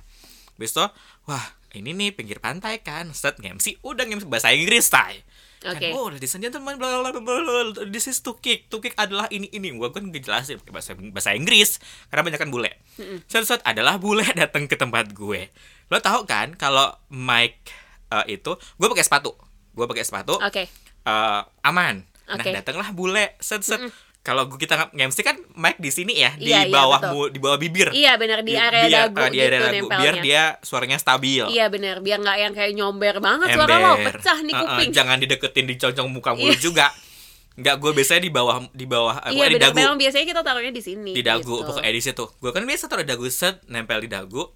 B: Habis itu wah ini nih pinggir pantai kan set nge-MC udah nge-MC bahasa Inggris tay Kan,
A: Oke.
B: oh ladies and gentlemen bla bla bla bla, bla this is to kick to kick adalah ini ini gue kan ngejelasin pakai bahasa bahasa Inggris karena banyak kan bule set set adalah bule datang ke tempat gue lo tahu kan kalau Mike eh, itu gue pakai sepatu gue pakai sepatu
A: Oke.
B: eh, aman.
A: Oke.
B: Nah, datanglah bule set set. Kalau gua- kita nge-MC kan mic di sini ya, di
A: Iya, iya,
B: bawah
A: betul.
B: mu- di bawah bibir.
A: Iya benar di
B: Biar-
A: area
B: biar-
A: dagu
B: eh, di area
A: gitu
B: dagu,
A: nempelnya.
B: biar dia suaranya stabil.
A: Iya benar, biar nggak yang kayak nyomber banget suara lo,
B: gitu. Ember.
A: pecah nih
B: Eh, eh,
A: kuping.
B: jangan dideketin diconcong muka mulu
A: Iya.
B: juga. Enggak, gue biasanya di bawah di bawah
A: iya
B: eh, pokoknya di
A: benar,
B: dagu.
A: memang biasanya kita taruhnya di sini.
B: Di dagu
A: gitu.
B: pokoknya di situ. Gue kan biasa taruh dagu set nempel di dagu.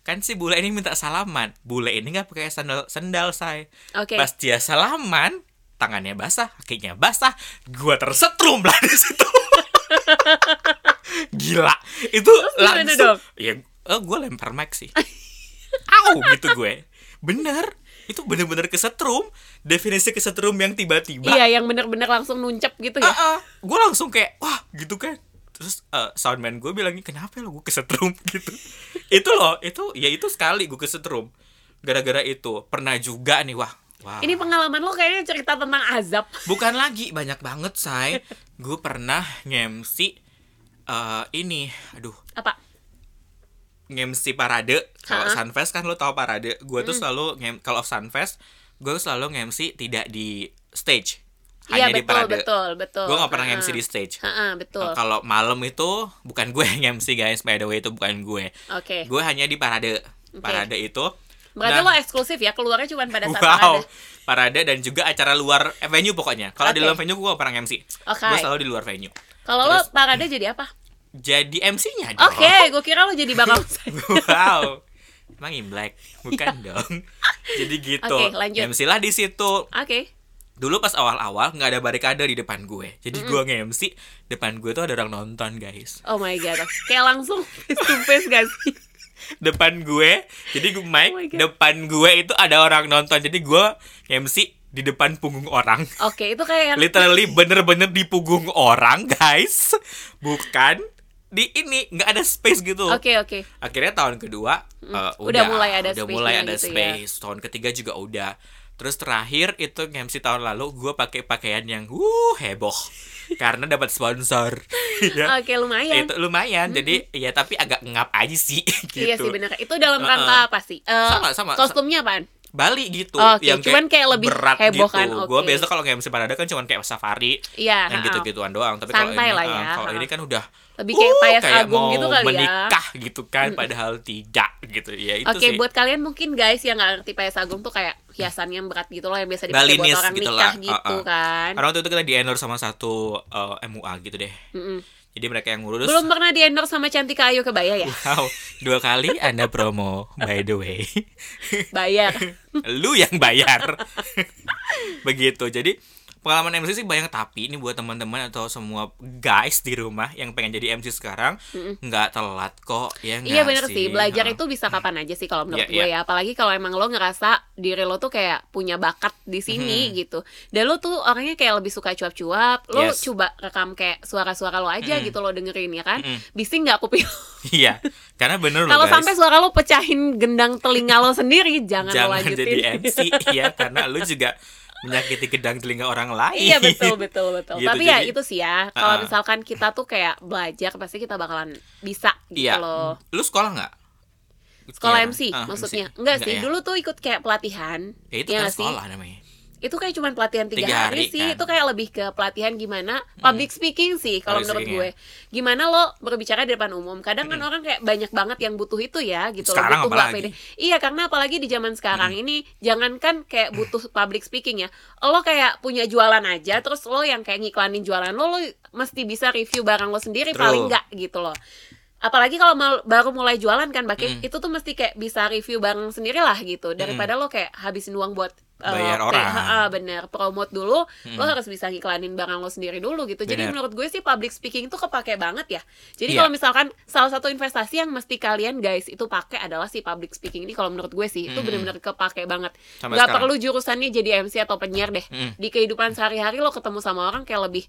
B: Kan si bule ini minta salaman. Bule ini nggak pakai sandal sandal saya.
A: Oke.
B: Pas dia salaman, tangannya basah, kakinya basah, gua tersetrum lah di situ. Gila, itu
A: gimana
B: langsung.
A: dong?
B: Ya, eh, gua lempar mic sih. Au gitu gue. Bener, itu bener-bener kesetrum. Definisi kesetrum yang tiba-tiba.
A: Iya, yang benar-benar langsung nuncep gitu
B: Ah.
A: ya.
B: gue langsung kayak wah gitu kan. Terus eh, soundman gue bilangnya kenapa lo gue kesetrum gitu. itu loh, itu ya itu sekali gue kesetrum. Gara-gara itu pernah juga nih wah. Wah.
A: Ini pengalaman lo kayaknya cerita tentang azab.
B: Bukan lagi banyak banget say. Gue pernah ngemsi eh ini, aduh
A: Apa?
B: ngemsi parade. Kalau
A: Ha-ha.
B: Sunfest kan lo tau parade. Gue
A: Hmm.
B: tuh selalu ngem kalau Sunfest gue selalu ngemsi tidak di stage,
A: Iya
B: hanya di
A: betul,
B: parade.
A: betul, betul.
B: Gue gak pernah
A: Ha-ha.
B: ngemsi di stage. Eh,
A: Ha-ha, betul.
B: Kalau malam itu bukan gue yang ngemsi guys, by the way itu bukan gue.
A: Oke.
B: Gue hanya di parade. Parade itu.
A: Berarti
B: nah,
A: lo eksklusif ya, keluarnya cuma pada saat
B: wow,
A: parade.
B: parade dan juga acara luar eh, venue pokoknya. Kalau di
A: Oke.
B: dalam venue gue gak pernah MC.
A: Oke.
B: Gue selalu di luar venue.
A: Kalau lo parade jadi apa?
B: Jadi MC-nya dong.
A: Oke, gue kira lo jadi bakal
B: wow. Emang Imlek? Bukan dong. Jadi gitu.
A: Iya. Oke, lanjut.
B: MC lah di situ.
A: Oke.
B: Dulu pas awal-awal nggak ada barikade di depan gue. Jadi gue nge-MC, depan gue tuh ada orang nonton, guys.
A: Oh my god. Kayak langsung face to face gak sih?
B: depan gue jadi gue mic
A: Oh my God.
B: depan gue itu ada orang nonton jadi gue MC di depan punggung orang
A: Oke, itu kayak yang
B: literally bener-bener di punggung orang guys bukan di ini nggak ada space gitu
A: Oke, oke.
B: akhirnya tahun kedua eh,
A: Hmm. udah mulai ada
B: udah
A: space-nya
B: mulai ada
A: gitu ya.
B: space tahun ketiga juga udah terus terakhir itu MC tahun lalu gue pakai pakaian yang uh heboh karena dapat sponsor ya
A: Oke, lumayan.
B: itu lumayan jadi ya tapi agak ngap aja sih gitu
A: Iya sih benar. Itu dalam
B: Heeh.
A: rangka apa sih? Eh,
B: Sama, sama,
A: Kostumnya apaan?
B: Bali gitu
A: Oke, cuman kayak lebih
B: berat
A: heboh
B: gitu
A: kan,
B: gue
A: oke.
B: biasa kalau nggak MC parade kan cuman kayak safari
A: Iya,
B: yang
A: heeh.
B: gitu-gituan doang tapi kalau ini
A: Santai lah ya,
B: eh, kalau
A: heeh.
B: ini kan udah
A: Lebih kayak
B: uh,
A: Payas Agung
B: mau
A: gitu kali ya. Hmm.
B: menikah gitu kan padahal tidak gitu ya itu
A: Oke,
B: sih
A: buat kalian mungkin guys yang nggak ngerti Payas Agung tuh kayak hiasan yang berat gitu loh yang biasa dipakai
B: Balinis
A: buat orang
B: gitu
A: nikah
B: lah,
A: gitu
B: heeh.
A: kan.
B: Karena waktu itu kita di endorse sama satu eh, MUA gitu deh.
A: Mm-mm.
B: Jadi mereka yang ngurus.
A: Belum pernah di endorse sama Cantika Ayu Kebaya ya?
B: Wow, dua kali Anda promo by the way.
A: Bayar.
B: Lu yang bayar. Begitu. Jadi pengalaman MC sih banyak tapi ini buat teman-teman atau semua guys di rumah yang pengen jadi MC sekarang nggak telat kok ya nggak
A: Iya bener
B: sih,
A: sih, belajar
B: Ha.
A: itu bisa kapan aja sih kalau menurut gue
B: Iya,
A: ya Apalagi kalau emang lo ngerasa diri lo tuh kayak punya bakat di sini
B: Mm-hmm.
A: gitu Dan lo tuh orangnya kayak lebih suka cuap-cuap Lo
B: Yes.
A: coba rekam kayak suara-suara lo aja gitu lo dengerin ya kan
B: Mm-mm.
A: Bising nggak kuping lo?
B: Iya. Karena bener loh
A: Kalau
B: guys.
A: sampai suara lo pecahin gendang telinga lo sendiri Jangan, lo
B: jangan
A: lanjutin
B: jadi MC ya karena lu juga menyakiti gedang telinga orang lain.
A: Iya betul betul betul.
B: Gitu,
A: Tapi ya
B: jadi-
A: itu sih ya. Kalau
B: Ah.
A: misalkan kita tuh kayak belajar pasti kita bakalan bisa gitu
B: Iya.
A: loh.
B: Lu sekolah nggak?
A: Sekolah
B: Iya.
A: MC
B: Ah,
A: maksudnya. Enggak, sih,
B: ya.
A: dulu tuh ikut kayak pelatihan.
B: Ya,
A: Iya
B: itu kan
A: nggak sih?
B: sekolah namanya.
A: Itu kayak cuman pelatihan tiga,
B: Tiga
A: hari,
B: hari,
A: sih.
B: kan. Hmm.
A: Itu kayak lebih ke pelatihan gimana public speaking sih kalau
B: Public
A: menurut
B: speaking, ya. Hmm.
A: gue. Gimana lo berbicara di depan umum. Kadang kan orang kayak banyak banget yang butuh itu ya gitu loh.
B: Sekarang
A: butuh nggak
B: apalagi. Hmm.
A: pede. Iya, karena apalagi di zaman sekarang ini jangankan kayak butuh public speaking ya. Lo kayak punya jualan aja terus lo yang kayak ngiklanin jualan lo lo mesti bisa review barang lo sendiri
B: True.
A: paling enggak gitu loh. Apalagi kalau mal- baru mulai jualan kan, Bakin,
B: Hmm.
A: itu tuh mesti kayak bisa review barang sendiri lah gitu. Daripada lo kayak habisin uang buat eh, kayak,
B: Bayar orang.
A: ha-ha, bener, promote dulu, lo harus bisa ngiklanin barang lo sendiri dulu gitu. Jadi
B: Bener.
A: menurut gue sih public speaking itu kepake banget ya. Jadi
B: Iya.
A: kalau misalkan salah satu investasi yang mesti kalian guys itu pakai adalah si public speaking ini kalau menurut gue sih itu bener-bener kepake banget.
B: Sampai
A: Nggak
B: sekarang.
A: perlu jurusannya jadi MC atau penyiar deh.
B: Mm.
A: Di kehidupan sehari-hari lo ketemu sama orang kayak lebih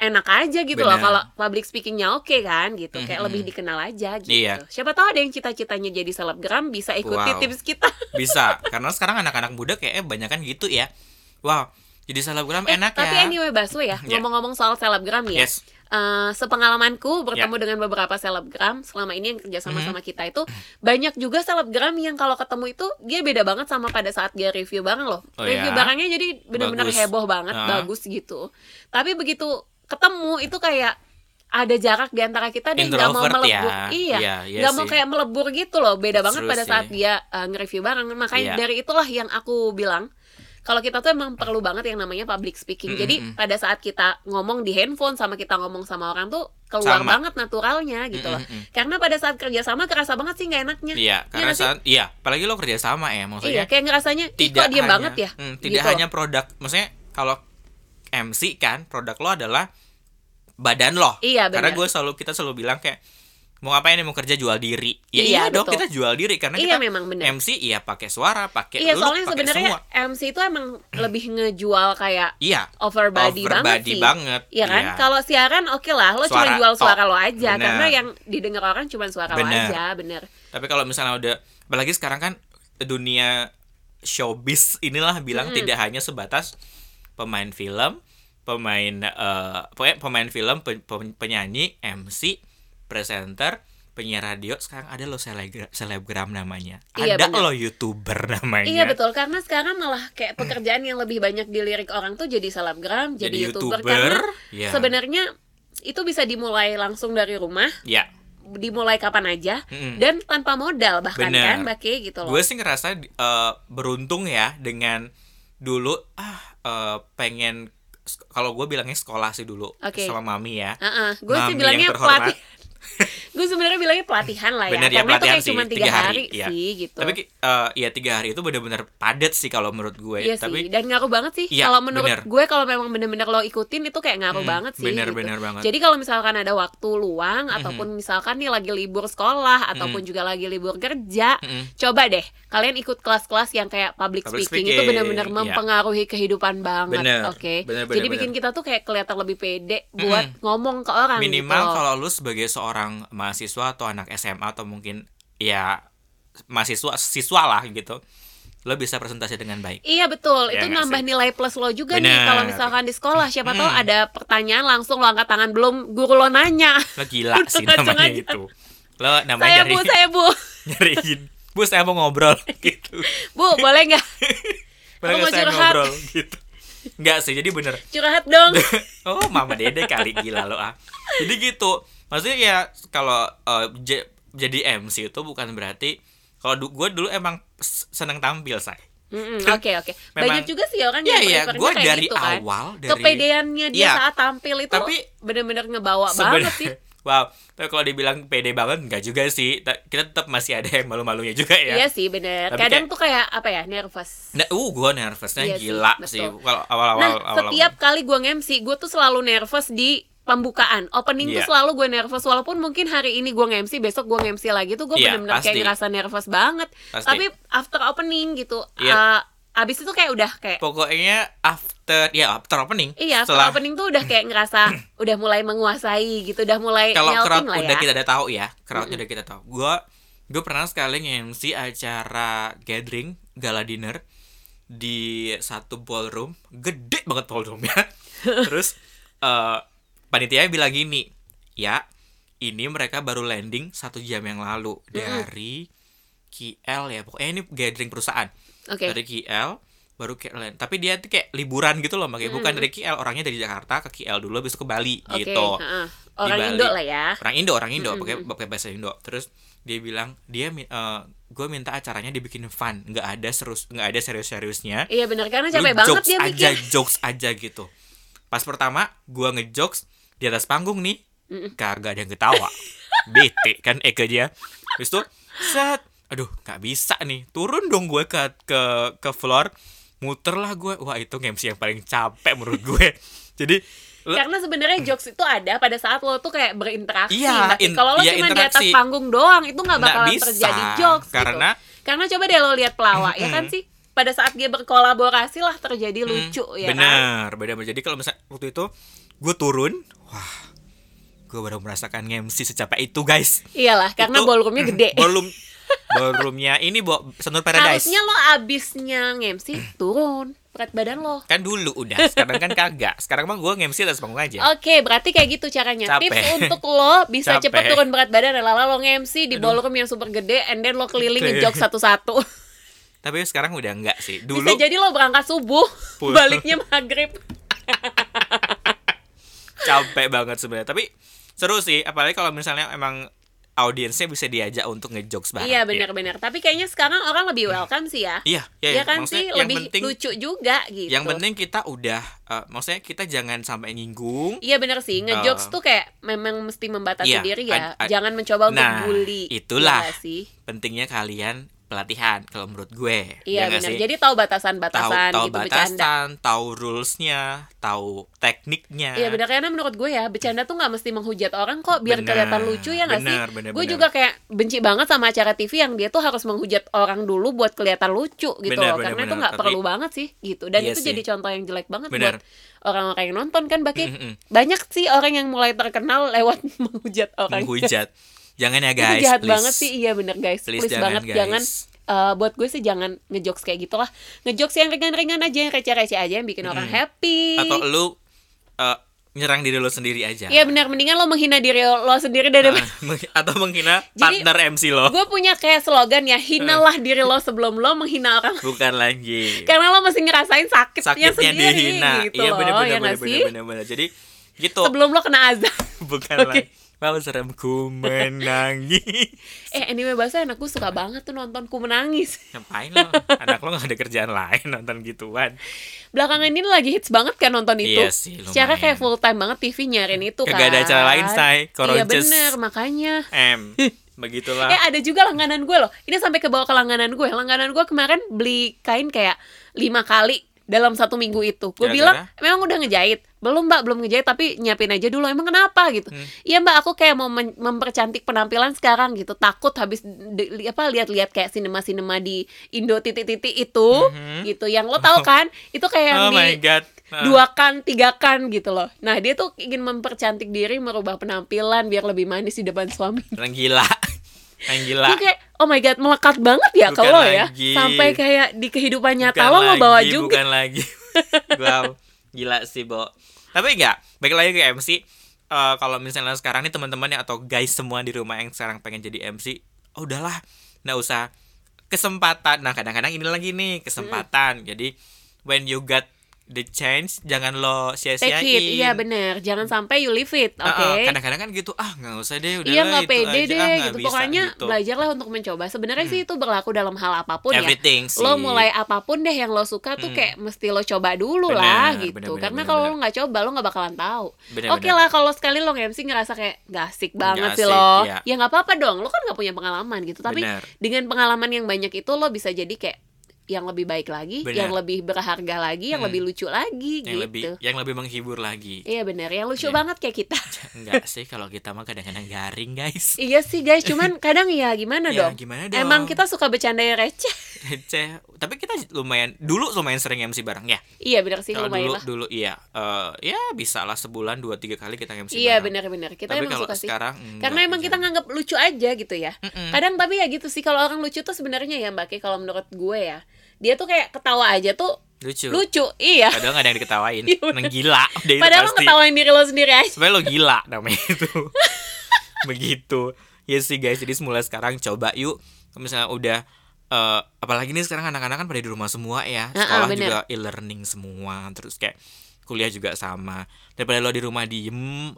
A: enak aja gitu loh
B: Bener.
A: kalau public speakingnya oke kan gitu kayak lebih dikenal aja gitu
B: Iya.
A: siapa tahu ada yang cita-citanya jadi selebgram bisa ikuti
B: Wow.
A: tips kita
B: Bisa, karena sekarang anak-anak muda kayaknya banyak kan gitu ya. Wow, jadi selebgram
A: Eh,
B: enak
A: tapi
B: ya.
A: anyway Basu ya
B: Iya.
A: ngomong-ngomong soal selebgram ya
B: Yes. Ya.
A: eh, sepengalamanku bertemu dengan beberapa selebgram selama ini yang kerja
B: Mm-hmm.
A: sama sama kita itu banyak juga selebgram yang kalau ketemu itu dia beda banget sama pada saat dia review barang loh
B: Oh
A: review
B: ya?
A: barangnya jadi benar-benar
B: Bagus.
A: heboh banget
B: Ah.
A: bagus gitu tapi begitu ketemu itu kayak ada jarak di antara kita dia nggak mau
B: Introvert ya.
A: melebur iya
B: Iya,
A: nggak
B: iya
A: mau
B: sih.
A: kayak melebur gitu loh beda banget
B: True
A: pada
B: sih.
A: saat dia eh, nge-review barang makanya
B: Iya.
A: dari itulah yang aku bilang kalau kita tuh emang perlu banget yang namanya public speaking. Jadi
B: Mm-mm.
A: pada saat kita ngomong di handphone sama kita ngomong sama orang tuh keluar
B: Sama.
A: banget naturalnya gitu loh.
B: Mm-mm-mm.
A: Karena pada saat kerjasama kerasa banget sih nggak enaknya.
B: Iya, karena
A: nggak sih?
B: saat- iya, apalagi lo kerja sama
A: iya
B: ya, maksudnya.
A: kayak ngerasanya "Ih, kok
B: tidak
A: diem
B: hanya-
A: banget ya.
B: Hmm, tidak
A: Gitu loh.
B: hanya produk, maksudnya kalau MC kan produk lo adalah badan lo.
A: Iya,
B: Karena
A: benar.
B: gue selalu kita selalu bilang kayak mau ngapain nih mau kerja jual diri. Ya
A: Iya,
B: iya, dong
A: betul.
B: kita jual diri karena
A: Iya,
B: kita
A: memang benar.
B: MC iya pakai suara, pakai
A: Iya
B: look,
A: soalnya
B: pakai
A: sebenarnya
B: semua.
A: MC itu emang lebih ngejual kayak
B: Iya.
A: over body,
B: Over
A: banget
B: body
A: sih.
B: banget,
A: Iya kan?
B: iya.
A: Kalau siaran oke lah, lo cuma
B: Suara,
A: jual
B: tok.
A: suara lo aja
B: Bener.
A: karena yang didengar orang cuma suara lo
B: Bener.
A: aja, bener.
B: Tapi kalau misalnya udah apalagi sekarang kan dunia showbiz inilah bilang tidak hanya sebatas pemain film, pemain eh, pokoknya pemain film, pe- pe- penyanyi, MC, presenter, penyiar radio, sekarang ada lo selegra- selebgram namanya.
A: Iya,
B: ada
A: bener.
B: lo YouTuber namanya.
A: Iya betul karena sekarang malah kayak pekerjaan yang lebih banyak dilirik orang tuh jadi selebgram, jadi,
B: Jadi
A: youtuber,
B: YouTuber,
A: karena
B: ya.
A: sebenarnya itu bisa dimulai langsung dari rumah,
B: Ya.
A: dimulai kapan aja
B: Mm-mm.
A: dan tanpa modal bahkan
B: Hmm. Bener.
A: kan Baki gitu loh.
B: Gue sih ngerasa eh, beruntung ya dengan dulu ah eh, pengen kalau gue bilangnya sekolah sih dulu
A: Oke. Ah,
B: sama mami ya.
A: Heeh, gue sih
B: Mami
A: bilangnya
B: yang terhormat.
A: pelatih. gue sebenarnya bilangnya pelatihan lah ya
B: Bener ya,
A: karena itu
B: pelatihan
A: kayak
B: sih,
A: cuma tiga
B: tiga hari,
A: hari,
B: iya.
A: sih gitu
B: Tapi ki- eh, ya tiga hari itu benar-benar padat sih kalau menurut gue.
A: Iya
B: Tapi
A: sih, dan ngaruh banget sih.
B: Iya,
A: kalau menurut
B: bener.
A: gue kalau memang bener-bener lo ikutin itu kayak ngaruh
B: Mm,
A: banget sih.
B: bener,
A: gitu.
B: bener banget. Hmm.
A: Jadi kalau misalkan ada waktu luang ataupun misalkan nih lagi libur sekolah ataupun juga lagi libur kerja,
B: Mm-mm.
A: coba deh kalian ikut kelas-kelas yang kayak public,
B: Hmm. Public
A: speaking, itu
B: speaking,
A: bener-bener
B: iya.
A: mempengaruhi kehidupan banget.
B: Bener,
A: Oke.
B: bener, bener,
A: Jadi bikin
B: bener. Hmm.
A: kita tuh kayak kelihatan lebih pede buat ngomong ke orang
B: minimal
A: gitu.
B: kalau lu sebagai seorang mahasiswa atau anak SMA atau mungkin ya mahasiswa siswa lah gitu lo bisa presentasi dengan baik
A: Iya betul,
B: Iya
A: itu
B: nggak
A: nambah
B: sih?
A: nilai plus lo juga nih
B: Bener. Hmm.
A: kalau misalkan di sekolah siapa tahu ada pertanyaan langsung lo angkat tangan belum guru lo nanya.
B: lo gila sih namanya
A: Ngaceng-ngaceng.
B: itu lo
A: saya
B: namanya nyari,
A: bu, saya bu,
B: nyariin bu saya mau ngobrol gitu
A: bu boleh nggak
B: Padahal
A: mau
B: saya
A: curhat.
B: ngobrol gitu nggak sih jadi bener
A: curhat dong?
B: oh mama dede kali gila lo ah jadi gitu maksudnya ya kalau eh, j- jadi MC itu bukan berarti kalau du- gue dulu emang s- seneng tampil say
A: Mm-mm, Oke oke, banyak
B: Memang-
A: juga sih orang
B: Iya,
A: yang
B: iya,
A: prefernya
B: gua
A: kayak
B: dari
A: gitu kan.
B: awal, dari-
A: kepedeannya dia
B: Iya.
A: saat tampil itu
B: Tapi-
A: bener-bener ngebawa banget sih.
B: Sebenarnya- Wow, tapi kalau dibilang pede banget nggak juga sih. Ta- Kita tetap masih ada yang malu-malunya juga
A: Iya
B: ya.
A: sih bener.
B: Tapi
A: Kadang tuh kayak apa ya nervous.
B: Nah, uh, gue nervousnya
A: Iya sih,
B: gila
A: betul.
B: sih. Kalau awal-awal,
A: Nah
B: awal-awal.
A: setiap kali gue nge-MC gue tuh selalu nervous di pembukaan opening tuh
B: Iya.
A: selalu gue nervous walaupun mungkin hari ini gue nge-MC besok gue nge-MC lagi tuh gue
B: Iya,
A: bener-bener kayak
B: pasti.
A: ngerasa nervous banget
B: Pasti.
A: tapi after opening gitu
B: Iya.
A: eh, abis itu kayak udah kayak
B: pokoknya after, ya after opening.
A: Iya,
B: setelah
A: setelah opening tuh udah kayak ngerasa udah mulai menguasai gitu, udah mulai
B: kalau
A: nyautin
B: crowd
A: lah
B: udah
A: ya.
B: kita udah tahu ya, crowdnya udah kita tahu. Gue gue pernah sekali nge-MC acara gathering gala dinner di satu ballroom, gede banget ballroomnya. Terus eh panitia bilang gini, ya ini mereka baru landing satu jam yang lalu dari KL ya pokoknya ini gathering perusahaan
A: Oke.
B: dari KL baru KL tapi dia tuh kayak liburan gitu loh makanya bukan dari KL orangnya dari Jakarta ke KL dulu habis itu ke Bali
A: Hmm. Oke,
B: gitu
A: heeh. hmm,
B: di
A: Orang
B: Bali.
A: Indo lah ya.
B: orang Indo orang Indo pakai pakai bahasa Indo terus dia bilang dia gue minta acaranya dibikin fun nggak ada serius nggak ada serius seriusnya
A: Iya bener karena
B: Lu
A: capek banget
B: jokes
A: dia
B: aja
A: bikin.
B: jokes aja gitu pas pertama gue ngejokes di atas panggung nih kagak ada yang ketawa bete kan Eka dia terus tuh set aduh nggak bisa nih turun dong gue ke ke ke floor muter lah gue wah itu MC yang paling capek menurut gue jadi lu-
A: Karena sebenarnya jokes itu ada pada saat lo tuh kayak berinteraksi.
B: Iya,
A: Tapi
B: in-
A: kalau lo
B: iya,
A: cuma di atas
B: interaksi.
A: panggung doang itu nggak
B: Nggak
A: bakalan
B: bisa,
A: terjadi jokes gitu.
B: karena-
A: Karena coba deh lo lihat pelawak ya kan sih. Pada saat dia berkolaborasi lah terjadi
B: mm,
A: lucu ya kan.
B: benar benar benar. jadi kalau misalnya waktu itu gue turun wah gue baru merasakan MC secapek itu guys
A: Iyalah karena
B: Itu-
A: ballroomnya gede.
B: ballroom ballroomnya ini bo Senur Paradise
A: Harusnya lo abisnya nge-MC turun berat badan lo.
B: kan dulu udah sekarang kan kagak sekarang mah gue nge-MC atas panggung aja
A: Oke, berarti kayak gitu caranya.
B: Iya. Capek.
A: Tips untuk lo bisa
B: Capek.
A: cepet turun berat badan adalah lo nge-MC di ballroom yang super gede and then lo keliling
B: Oke.
A: ngejok satu-satu.
B: tapi sekarang udah enggak sih
A: Bisa
B: dulu
A: jadi lo berangkat subuh,
B: Pulang.
A: baliknya maghrib.
B: capek banget sebenarnya tapi seru sih apalagi kalau misalnya emang audiensnya bisa diajak untuk ngejokes bareng
A: Iya benar-benar. Tapi kayaknya sekarang orang lebih welcome sih ya.
B: iya
A: Iya
B: iya, iya.
A: kan
B: Maksudnya
A: sih,
B: yang
A: lebih
B: penting
A: lucu juga gitu.
B: yang penting kita udah eh, maksudnya kita jangan sampai nyinggung
A: Iya benar sih, ngejokes
B: Eh.
A: tuh kayak memang mesti membatasi
B: Iya,
A: diri ya.
B: ad- ad-
A: Jangan mencoba untuk
B: Nah,
A: bully. Iya
B: itulah.
A: nggak sih.
B: pentingnya kalian pelatihan kalau menurut gue
A: Iya
B: nggak
A: benar.
B: sih?
A: Jadi tahu
B: tahu
A: batasan-batasan
B: tahu
A: gitu bercanda.
B: batasan tahu rulesnya tahu tekniknya
A: Iya benar karena menurut gue ya bercanda tuh nggak mesti menghujat orang kok biar
B: Benar,
A: kelihatan lucu ya nggak sih?
B: benar, benar,
A: Gue
B: benar.
A: juga kayak benci banget sama acara TV yang dia tuh harus menghujat orang dulu buat kelihatan lucu gitu
B: Benar,
A: loh
B: benar,
A: karena itu
B: benar.
A: nggak
B: Tapi-
A: perlu banget sih gitu dan
B: Iya
A: itu
B: sih.
A: jadi contoh yang jelek banget buat
B: Benar.
A: orang-orang yang nonton kan bagi
B: Mm-mm.
A: banyak sih orang yang mulai terkenal lewat menghujat orang
B: menghujat jangan ya
A: itu
B: guys
A: jahat
B: please.
A: banget sih iya bener guys please,
B: Please jangan,
A: banget
B: guys.
A: jangan eh, buat gue sih jangan ngejokes kayak gitulah ngejokes yang ringan-ringan aja yang receh-receh aja yang bikin orang happy
B: atau lu eh, nyerang diri lo sendiri aja
A: Iya benar mendingan lo menghina diri lo sendiri daripada
B: Ah, meng- atau menghina
A: Jadi-
B: partner MC lo
A: gue punya kayak slogan ya hinalah
B: Nah.
A: diri lo sebelum lo menghina orang
B: bukan lagi
A: karena lo masih ngerasain sakitnya,
B: Iya. sakitnya
A: sendiri
B: dihina
A: gitu
B: iya
A: loh
B: bener
A: ya
B: bener bener
A: nggak
B: bener
A: sih
B: bener, bener. jadi gitu
A: sebelum lo kena azab
B: bukan
A: Oke.
B: lagi Malu serem ku menangis
A: eh anime bahasa anakku suka banget tuh nonton ku menangis
B: Ngapain lo? Anak lo gak ada kerjaan lain nonton gituan
A: belakangan ini lagi hits banget kan nonton itu
B: Iya sih, lumayan.
A: secara kayak full time banget TV nyariin itu kan
B: Kagak ada acara lain, Shay.
A: iya
B: Koronces.
A: bener makanya
B: Em, begitulah
A: Eh ada juga langganan gue loh. Ini sampai ke bawah ke langganan gue. Langganan gue kemarin beli kain kayak lima kali dalam satu minggu itu. Gue bilang
B: Gara-gara?
A: memang udah ngejahit. Belum mbak, belum ngejahit tapi nyiapin aja dulu. Emang kenapa gitu?
B: Hmm.
A: Iya mbak, aku kayak mau men- mempercantik penampilan sekarang gitu. Takut habis di- li- apa lihat-lihat kayak sinema-sinema di Indo titik-titik itu,
B: Mhm.
A: gitu. Yang lo tau kan? Itu kayak yang
B: Oh my
A: di
B: god Ah.
A: dua kan tiga kan gitu loh. Nah dia tuh ingin mempercantik diri, merubah penampilan biar lebih manis di depan suami.
B: Orang gila Orang gila
A: Gue kayak oh my god melekat banget ya
B: Bukan
A: kalau ya
B: lagi.
A: sampai kayak di kehidupan nyata
B: Bukan
A: lo lo bawa
B: lagi,
A: juga
B: Bukan lagi Wow Gila sih Bo Tapi enggak Baik lagi ke MC Eh, Kalau misalnya sekarang nih teman-teman yang- Atau guys semua di rumah yang sekarang pengen jadi MC Oh udahlah Nggak usah Kesempatan Nah kadang-kadang ini lagi nih Kesempatan Jadi When you got the chance Jangan lo sia-siain
A: take it iya bener jangan sampai you leave it oke
B: Heeh, Kadang-kadang kan gitu Ah nggak usah deh udah
A: Iya nggak
B: itu
A: pede
B: aja,
A: deh
B: ah, nggak
A: gitu
B: bisa,
A: pokoknya
B: gitu. Hmm.
A: belajarlah untuk mencoba sebenarnya sih itu berlaku dalam hal apapun ya
B: Everything sih. Hmm.
A: lo mulai apapun deh yang lo suka tuh kayak mesti lo coba dulu
B: Bener,
A: lah
B: bener,
A: gitu
B: bener,
A: karena
B: bener,
A: kalau
B: bener.
A: lo nggak coba lo nggak bakalan tahu
B: Bener,
A: oke
B: bener.
A: lah kalau sekali lo MC ngerasa kayak gak asik banget
B: Nggak
A: sih
B: asik,
A: lo
B: iya.
A: ya nggak apa-apa dong lo kan nggak punya pengalaman gitu tapi
B: Bener.
A: dengan pengalaman yang banyak itu lo bisa jadi kayak yang lebih baik lagi
B: Bener.
A: yang lebih berharga lagi yang
B: Hmm.
A: lebih lucu lagi gitu
B: yang lebih yang lebih menghibur lagi
A: iya bener yang lucu
B: Iya.
A: banget kayak kita
B: Enggak sih kalau kita mah kadang-kadang garing guys
A: iya sih guys cuman kadang ya gimana
B: Ya,
A: dong
B: gimana dong?
A: Emang kita suka bercanda yang receh.
B: receh. Tapi kita lumayan dulu lumayan sering MC bareng ya.
A: iya benar sih
B: Kalau
A: lumayan
B: dulu
A: lah.
B: dulu iya Eh, ya bisa lah sebulan dua tiga kali kita MC
A: Iya
B: bareng.
A: benar-benar. Kita
B: Tapi
A: emang
B: kalau
A: suka sih.
B: sekarang
A: Karena emang kita nganggap lucu aja gitu ya. Kadang tapi ya gitu sih kalau orang lucu tuh sebenarnya ya Mbak Ki kalau menurut gue ya. Dia tuh kayak ketawa aja tuh
B: lucu.
A: lucu. Iya.
B: Padahal gak ada yang diketawain.
A: Iya, bener.
B: Neng gila. Udah itu
A: Padahal lo
B: pasti.
A: ngetawain diri lo sendiri aja.
B: Sebenarnya lo gila namanya itu. Begitu. Ya sih guys, jadi mulai sekarang coba yuk Kalau misalnya udah eh, apalagi nih sekarang anak-anak kan pada di rumah semua
A: Ah,
B: ya.
A: ah,
B: Sekolah
A: bener.
B: juga e-learning semua, terus kayak kuliah juga sama. Daripada lo di rumah diem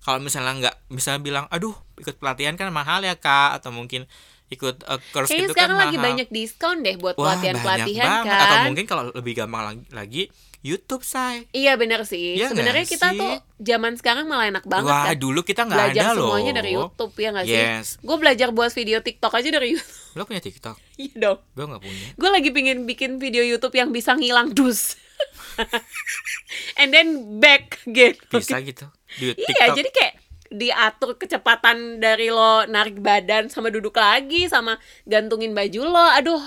B: kalau misalnya nggak misalnya bilang aduh ikut pelatihan kan mahal ya kak atau mungkin ikut eh, course
A: Kayaknya
B: gitu kan
A: sekarang lagi
B: mahal.
A: banyak diskon deh buat
B: Wah,
A: pelatihan-pelatihan
B: banyak
A: kan.
B: banget. atau mungkin kalau lebih gampang lagi, lagi YouTube say
A: Iya benar sih.
B: Iya nggak
A: sebenarnya kita
B: sih?
A: tuh zaman sekarang malah enak banget
B: Wah,
A: kan.
B: dulu kita nggak
A: Belajar
B: ada loh.
A: semuanya dari YouTube ya nggak sih?
B: Yes.
A: Gue belajar buat video TikTok aja dari YouTube.
B: Lo punya TikTok?
A: Iya dong.
B: Gue nggak punya.
A: Gue lagi pingin bikin video YouTube yang bisa ngilang dus. And then back again.
B: Bisa gitu. Di
A: Iya,
B: TikTok.
A: jadi kayak diatur kecepatan dari lo narik badan sama duduk lagi sama gantungin baju lo. Aduh,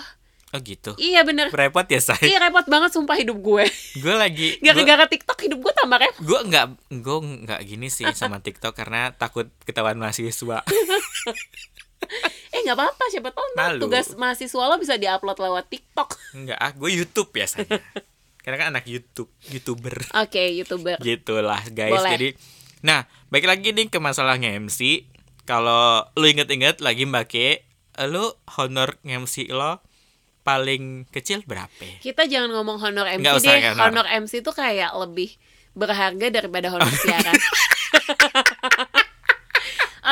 B: Oh gitu.
A: iya bener.
B: Repot ya, say.
A: Iya repot banget sumpah hidup gue.
B: Gue lagi gue
A: Gara-gara TikTok hidup gue tambah repot.
B: gue nggak gue nggak gini sih sama TikTok karena takut ketahuan mahasiswa.
A: Eh nggak apa-apa, siapa tahu ntar
B: Malu.
A: tugas mahasiswa lo bisa diupload lewat TikTok.
B: Enggak, ah, gue YouTube biasanya. Karena kan anak YouTube, YouTuber.
A: Oke, youtuber.
B: gitulah guys
A: Boleh.
B: jadi nah baik lagi nih ke masalah nge-MC kalau lu inget-inget lagi mbak Ke lu honor nge-MC lo paling kecil berapa
A: Kita jangan ngomong honor MC
B: Nggak usah,
A: deh.
B: nggak
A: honor
B: honor.
A: MC tuh kayak lebih berharga daripada
B: Oh,
A: honor
B: iya.
A: siaran.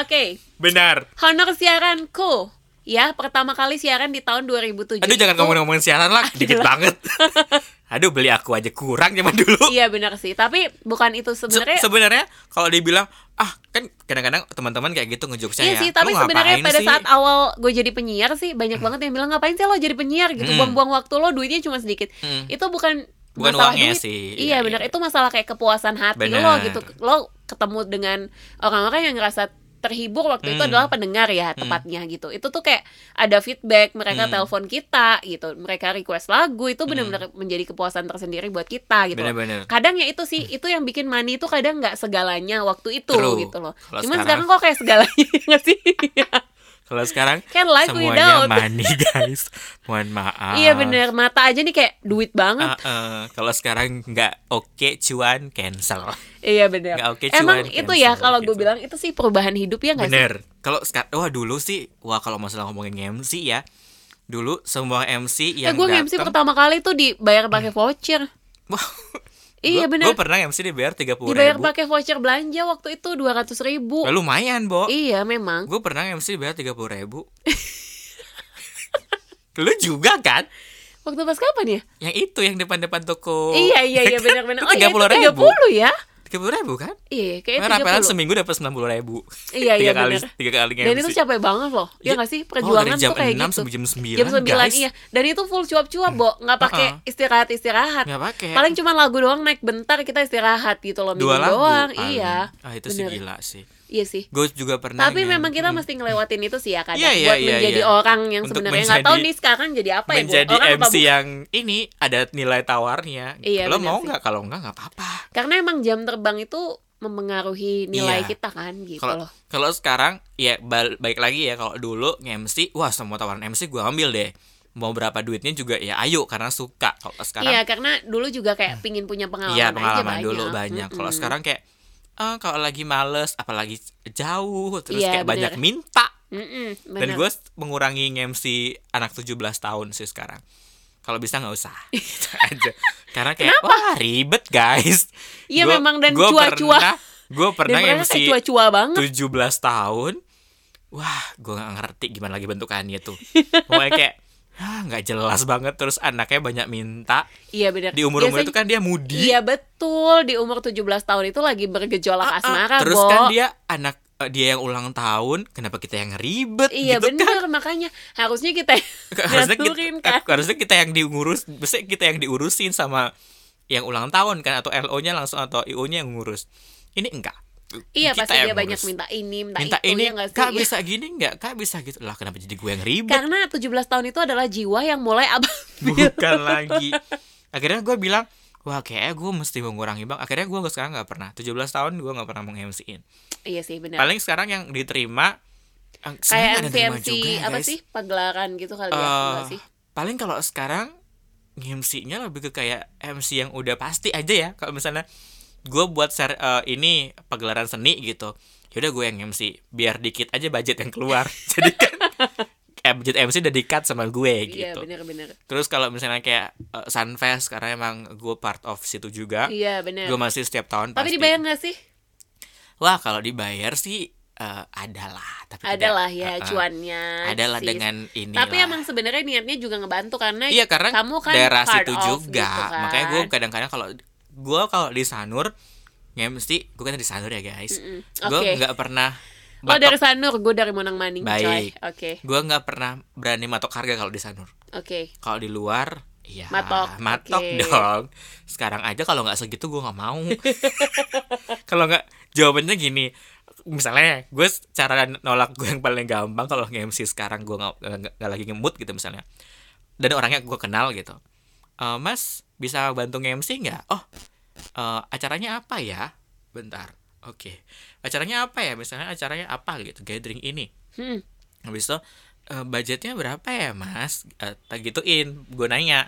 A: Oke,
B: benar
A: honor siaranku ya pertama kali siaran di tahun 2007.
B: aduh jangan
A: itu-
B: ngomong-ngomongin siaran lah dikit banget aduh beli aku aja kurang zaman dulu
A: Iya benar sih, tapi bukan itu
B: Se-
A: sebenarnya.
B: sebenarnya kalau dibilang ah kan kadang-kadang teman-teman kayak gitu ngejokesnya
A: Iya
B: ya
A: sih, tapi
B: "Lu ngapain
A: sebenarnya pada
B: sih?"
A: saat awal gue jadi penyiar sih banyak banget yang bilang ngapain sih lo jadi penyiar gitu,
B: Mm.
A: buang-buang waktu lo duitnya cuma sedikit.
B: Mm.
A: Itu bukan
B: Bukan
A: masalah
B: uangnya
A: duit.
B: sih,
A: Iya
B: iya,
A: benar,
B: iya.
A: itu masalah kayak kepuasan hati
B: Benar.
A: lo gitu. Lo ketemu dengan orang-orang yang ngerasa terhibur waktu itu
B: Mm.
A: adalah pendengar ya tepatnya gitu. Itu tuh kayak ada feedback, mereka
B: Mm.
A: telepon kita gitu, mereka request lagu itu benar-benar menjadi kepuasan tersendiri buat kita gitu. loh.
B: Hmm. bener-bener
A: kadang ya itu sih itu yang bikin money itu kadang nggak segalanya waktu itu
B: True.
A: gitu loh
B: Kalau
A: cuman sekarang,
B: sekarang-
A: kok kayak segalanya nggak sih
B: kalau sekarang
A: Can life without.
B: semuanya money guys mohon maaf
A: iya bener mata aja nih kayak duit banget
B: Ah, eh, kalau sekarang nggak oke cuan cancel.
A: iya bener
B: nggak oke,
A: emang
B: cuan
A: itu ya
B: cancel
A: kalau gue
B: gitu.
A: bilang itu sih perubahan hidup ya nggak sih
B: Bener. Kalau sekarang, wah dulu sih, wah kalau masalah ngomongin MC ya, dulu semua MC
A: ya
B: yang
A: gue MC
B: datang-
A: pertama kali tuh dibayar pakai voucher
B: Wah,
A: Iya
B: Gua-
A: benar.
B: Gua pernah MC dibayar tiga puluh
A: Dibayar
B: ribu.
A: pakai voucher belanja waktu itu 200 ribu.
B: Lah, lumayan, Bo.
A: Iya memang.
B: Gue pernah MC dibayar tiga puluh ribu. Lu juga kan?
A: Waktu pas kapan ya?
B: Yang itu yang depan-depan toko. Kan?
A: Iya iya iya benar-benar. Oh iya
B: Oh. Tiga
A: itu
B: puluh ribu.
A: 30 ya?
B: Tiga puluh ribu kan?
A: Iya
B: Karena
A: kayaknya
B: rapelan
A: 30.
B: seminggu dapat sembilan puluh ribu.
A: Iya, iya,
B: tiga kali,
A: bener.
B: tiga kali
A: Dan
B: MC.
A: itu capek banget loh. Ya nggak sih? Perjuangan
B: Oh, dari jam
A: tuh kayak
B: 6
A: gitu.
B: sampai jam 9,
A: Jam 9
B: guys.
A: iya. Dan itu full cuap-cuap, Bo. Nggak pakai
B: Uh-uh.
A: istirahat-istirahat.
B: Nggak pakai.
A: Paling cuma lagu doang naik bentar kita istirahat gitu loh minum
B: dua lagu.
A: doang.
B: paling.
A: Iya.
B: Ah itu sih
A: Bener.
B: gila sih.
A: Iya sih.
B: Gue juga pernah. mm,
A: Tapi
B: nge-
A: memang kita mesti ngelewatin itu sih ya kadang
B: Iya, iya,
A: buat
B: iya,
A: menjadi
B: iya.
A: orang yang
B: Untuk
A: sebenarnya nggak tahu
B: menjadi-
A: nih sekarang jadi apa ya
B: menjadi
A: Bu? orang apa
B: MC
A: bu-
B: yang ini ada nilai tawarnya.
A: Iya,
B: Lo
A: bener
B: mau
A: sih.
B: nggak? Kalau nggak nggak apa-apa.
A: Karena emang jam terbang itu mempengaruhi nilai
B: Iya.
A: kita kan gitu
B: Kalau
A: loh.
B: kalau sekarang ya bal- baik lagi ya kalau dulu nge-MC, wah semua tawaran MC gue ambil deh. Mau berapa duitnya juga ya ayo karena suka. Kalau sekarang Hmm.
A: Iya, karena dulu juga kayak pingin punya pengalaman,
B: Iya
A: aja
B: pengalaman
A: banyak.
B: dulu banyak. Kalau
A: Mm-mm.
B: sekarang kayak eh, kalau lagi males, apalagi jauh, terus
A: Iya,
B: kayak
A: bener.
B: banyak minta.
A: Mm-mm,
B: Dan
A: bener.
B: gue mengurangi MC anak 17 tahun sih sekarang. Kalau bisa nggak usah. Gitu aja. Karena kayak wah ribet guys.
A: Iya,
B: Gua-
A: memang, dan
B: gua
A: cua-cua.
B: pernah- Gue pernah
A: Dan mereka
B: MC
A: kayak cua-cua banget.
B: 17 tahun. Wah, gue nggak ngerti gimana lagi bentukannya tuh. Pokoknya kayak "Hah, nggak jelas banget terus anaknya banyak minta
A: Iya benar.
B: di umur umur
A: Biasanya-
B: itu kan dia mudi
A: Iya betul, di umur 17 tahun itu lagi bergejolak
B: Ah, ah.
A: asmara,
B: Terus
A: Bo.
B: kan dia anak eh, dia yang ulang tahun, kenapa kita yang ribet
A: Iya
B: gitu kan?
A: benar, makanya harusnya kita
B: Harusnya kita,
A: ngaturin kan.
B: eh, harusnya kita yang diurus, mesti kita yang diurusin sama yang ulang tahun kan atau LO-nya langsung atau IO-nya yang ngurus. Ini enggak.
A: Iya
B: Kita
A: pasti dia
B: yang
A: banyak
B: ngurus.
A: minta ini, minta,
B: minta
A: itu
B: ini
A: ya nggak sih?
B: kak
A: Iya.
B: bisa gini enggak kak bisa gitu lah kenapa jadi gue yang ribet
A: Karena 17 tahun itu adalah jiwa yang mulai abang. Iya.
B: bukan lagi akhirnya gue bilang wah kayaknya gue mesti mengurangi bang akhirnya gue sekarang nggak pernah 17 tahun gue nggak pernah meng-MC-in
A: iya sih benar.
B: paling sekarang yang diterima eh, sebenarnya ada
A: Kayak MC
B: yang terima
A: MC
B: juga, ya,
A: apa
B: guys.
A: sih pagelaran gitu kali ya enggak
B: Eh,
A: sih?
B: paling kalau sekarang MC-nya lebih ke kayak MC yang udah pasti aja ya kalau misalnya gue buat ser- eh, ini pagelaran seni gitu yaudah gue yang MC biar dikit aja budget yang keluar jadi kan eh, budget MC udah di-cut sama
A: Iya
B: gue gitu
A: benar-benar.
B: terus kalau misalnya kayak eh, Sunfest karena emang gue part of situ juga
A: Iya benar.
B: gue masih setiap tahun
A: Tapi
B: pasti
A: dibayar nggak sih?
B: wah kalau dibayar sih eh, adalah tapi tidak-
A: Adalah ya
B: eh, eh,
A: cuannya.
B: adalah
A: sih.
B: dengan ini
A: Tapi emang sebenarnya niatnya juga ngebantu karena
B: Iya karena
A: kamu kan
B: daerah
A: part
B: situ
A: of
B: juga,
A: gitu kan.
B: makanya gue kadang-kadang kalau gue kalau di Sanur ya mesti gue kan di Sanur ya guys,
A: Mm-mm.
B: gue
A: Oke.
B: nggak pernah
A: Lo
B: batok,
A: Oh, dari Sanur, gue dari Monang Maning
B: Baik.
A: coy. Oke,
B: gue nggak pernah berani matok harga kalau di Sanur.
A: oke
B: Kalau di luar, iya
A: Matok,
B: matok
A: oke.
B: dong. Sekarang aja kalau nggak segitu gue nggak mau. kalau nggak jawabannya gini, misalnya gue cara nolak gue yang paling gampang kalau nge-MC sekarang gue nggak nggak- nggak lagi ngemut gitu misalnya. Dan orangnya gue kenal gitu. "Eh, mas bisa bantu nge-MC nggak? Oh, eh, acaranya apa ya? Bentar. Oke. Acaranya apa ya? Misalnya acaranya apa gitu? Gathering ini
A: Hmm,
B: habis itu "Eh, budgetnya berapa ya mas Eh, tak gituin gue nanya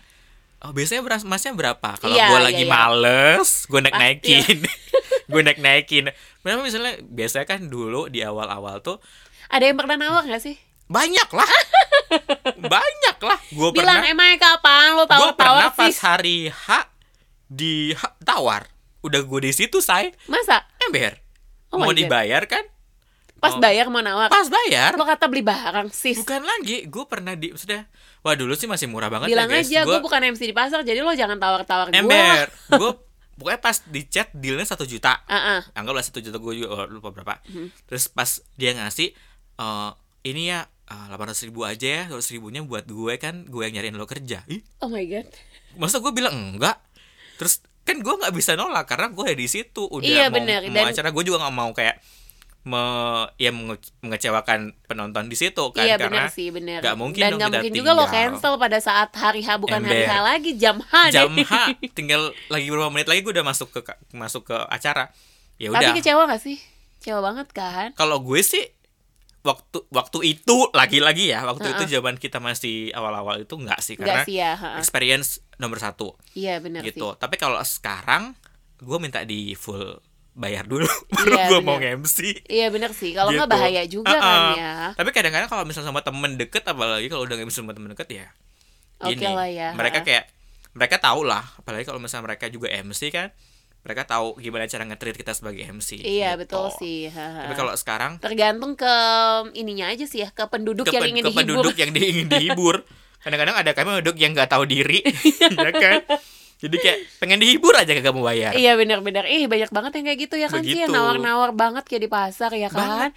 B: oh biasanya beras masnya berapa kalau
A: Iya,
B: gue
A: iya,
B: lagi
A: iya.
B: males gue naik naikin
A: Pasti.
B: gue naik naikin memang misalnya biasanya kan dulu di awal awal tuh
A: Ada yang pernah nawar gak sih?
B: banyak lah banyak lah gue
A: Bilang
B: pernah
A: emang ya, kapan lo
B: gue
A: tahu
B: pernah
A: tawar
B: pas
A: sih?
B: hari H di H- tawar udah gue di situ say
A: Masa?
B: ember
A: Oh
B: mau
A: my God.
B: dibayar kan
A: Pas
B: Oh.
A: bayar mau nawar?
B: pas bayar
A: Lo kata beli barang sis
B: Bukan lagi, gue pernah di sudah. Wah dulu sih masih murah banget
A: Bilang
B: ya guys.
A: aja, gue
B: Gua-
A: bukan MC di pasar Jadi lo jangan tawar-tawar gue
B: ember. Gue pokoknya pas di chat dealnya satu juta.
A: Ah, ah.
B: Anggaplah satu juta gue juga oh, lupa berapa.
A: Mm-hmm.
B: Terus pas dia ngasih eh, ini ya delapan ribu aja ya, ratus ribunya buat gue kan gue yang nyariin lo kerja. Ih,
A: Oh my god
B: masa gue bilang enggak? Terus kan gue nggak bisa nolak karena gue ada di situ udah
A: Iya,
B: mau,
A: bener.
B: mau
A: Dan-
B: acara gue juga nggak mau kayak me, ya menge- mengecewakan penonton di situ kan
A: Iya
B: karena
A: bener sih bener
B: nggak mungkin
A: Dan
B: dong
A: nggak
B: kita
A: mungkin juga lo
B: tinggal.
A: cancel pada saat hari H Bukan hari H
B: Ember.
A: lagi, jam H
B: jam
A: deh.
B: H tinggal lagi beberapa menit lagi gue udah masuk ke masuk ke acara ya
A: Tapi
B: udah
A: kecewa gak sih? Kecewa banget kan?
B: kalau gue sih waktu waktu itu lagi-lagi ya waktu
A: Heeh.
B: itu zaman kita masih awal-awal itu nggak sih
A: Enggak
B: karena
A: sih ya ha-ha.
B: experience nomor satu
A: Iya bener sih
B: gitu tapi kalau sekarang gue minta di full bayar dulu baru gue mau
A: Iya, bener.
B: MC
A: Iya bener sih, kalau nggak
B: Gitu.
A: bahaya juga
B: Ah,
A: kan
B: ah.
A: ya
B: Tapi kadang-kadang kalau misalnya sama temen deket apalagi kalau udah nggak bisa sama temen deket ya.
A: Oke
B: gini,
A: lah ya.
B: Mereka kayak mereka tahu lah apalagi kalau misalnya mereka juga MC kan mereka tahu gimana cara nge-treat kita sebagai MC
A: Iya
B: gitu.
A: betul sih. haha.
B: tapi kalau sekarang
A: tergantung ke ininya aja sih ya ke penduduk
B: ke,
A: yang
B: pen-
A: ingin
B: ke
A: dihibur.
B: penduduk yang di- ingin dihibur kadang-kadang ada kami penduduk yang nggak tahu diri ya kan jadi kayak pengen dihibur aja kagak mau bayar
A: Iya benar-benar. Ih banyak banget yang kayak gitu ya kan sih yang
B: ya. Begitu.
A: nawar-nawar banget kayak di pasar ya kan.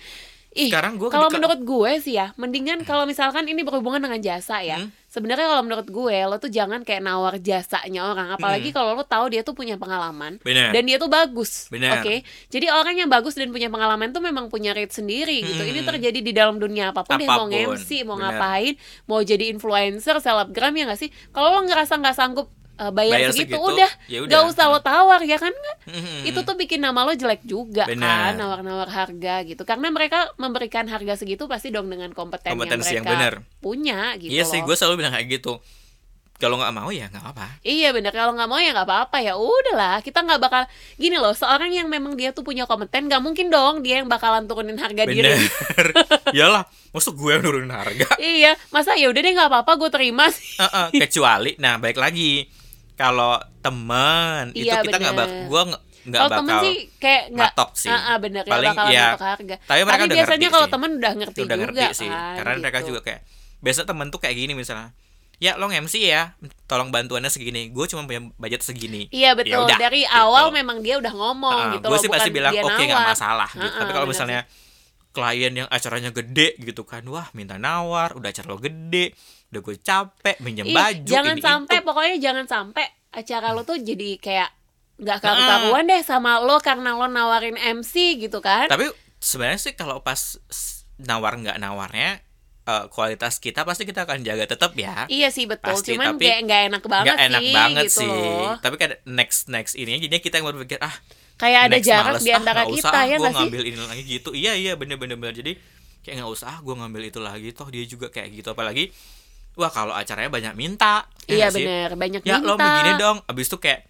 A: Ih,
B: Sekarang gua
A: kalau
B: di-
A: menurut gue sih ya, mendingan kalau misalkan ini berhubungan dengan jasa ya.
B: Hmm.
A: Sebenarnya kalau menurut gue lo tuh jangan kayak nawar jasanya orang, apalagi
B: Hmm.
A: kalau lo tahu dia tuh punya pengalaman
B: Bener.
A: dan dia tuh bagus.
B: Bener.
A: Oke. Jadi orang yang bagus dan punya pengalaman tuh memang punya rate sendiri gitu. Ini
B: Hmm.
A: terjadi di dalam dunia apapun, deh, mau
B: Apapun.
A: MC, mau
B: Bener.
A: ngapain, mau jadi influencer, selebgram ya nggak sih? Kalau lo ngerasa nggak sanggup eh, bayar,
B: Bayar
A: segitu,
B: segitu,
A: udah,
B: ya udah. Hmm,
A: nggak usah lo tawar ya kan nggak?
B: Mm-mm.
A: itu tuh bikin nama lo jelek juga kan
B: Benar.
A: nawar-nawar harga gitu karena mereka memberikan harga segitu pasti dong dengan kompeten
B: Kompetensi
A: yang
B: yang
A: mereka
B: benar.
A: punya gitu
B: iya sih
A: loh.
B: gue selalu bilang kayak gitu kalau nggak mau ya nggak apa
A: Iya bener kalau nggak mau ya nggak apa-apa ya udahlah kita nggak bakal gini loh seorang yang memang dia tuh punya kompeten nggak mungkin dong dia yang bakalan turunin harga
B: bener
A: diri
B: iyalah maksud gue yang nurunin harga
A: iya masa ya udah deh nggak apa-apa gue terima sih
B: Eh, eh, kecuali nah baik lagi kalau temen itu
A: Iya,
B: kita nggak bak
A: bener.
B: gue nggak nggak
A: kalau temen
B: bakal
A: sih kayak nggak
B: matok sih.
A: Ah, ah, bener nggak
B: Paling
A: bakalan
B: ya,
A: matok harga
B: tapi mereka udah
A: biasanya
B: ngerti
A: kalau
B: sih.
A: temen udah ngerti
B: udah
A: juga
B: ngerti sih
A: kan,
B: karena mereka
A: gitu.
B: juga kayak biasa temen tuh kayak gini misalnya ya lo MC ya tolong bantuannya segini gue cuma punya budget segini
A: Iya betul.
B: udah,
A: Dari
B: gitu.
A: awal memang dia udah ngomong
B: Ah,
A: gitu
B: gue
A: loh.
B: sih pasti
A: bukan
B: bilang
A: dia
B: oke nggak
A: nawar."
B: masalah gitu
A: Ah, ah,
B: tapi kalau
A: bener
B: misalnya klien yang acaranya gede gitu kan wah minta nawar udah acara lo gede udah gue capek minjem
A: Ih,
B: baju
A: jangan
B: ini,
A: sampai
B: itu.
A: pokoknya jangan sampai acara lo tuh jadi kayak nggak karu-karuan deh sama lo karena lo nawarin MC gitu kan.
B: tapi sebenarnya sih kalau pas s- nawar nggak nawarnya eh, kualitas kita pasti kita akan jaga tetap ya
A: Iya sih betul.
B: Pasti,
A: Cuman
B: tapi
A: kayak nggak enak banget
B: nggak enak
A: sih
B: banget
A: gitu
B: sih
A: loh.
B: tapi kan next next ini jadinya kita yang berpikir ah
A: Kayak ada
B: next
A: jarak
B: males,
A: di
B: ah,
A: antara
B: nggak
A: kita
B: usah, ah,
A: ya
B: gua
A: nggak sih?
B: ngambil ini lagi gitu iya iya bener bener bener jadi kayak nggak usah ah, gue ngambil itu lagi toh dia juga kayak gitu apalagi wah kalau acaranya banyak minta
A: Iya
B: ya nggak sih?
A: bener banyak
B: ya
A: minta.
B: lo begini dong abis itu kayak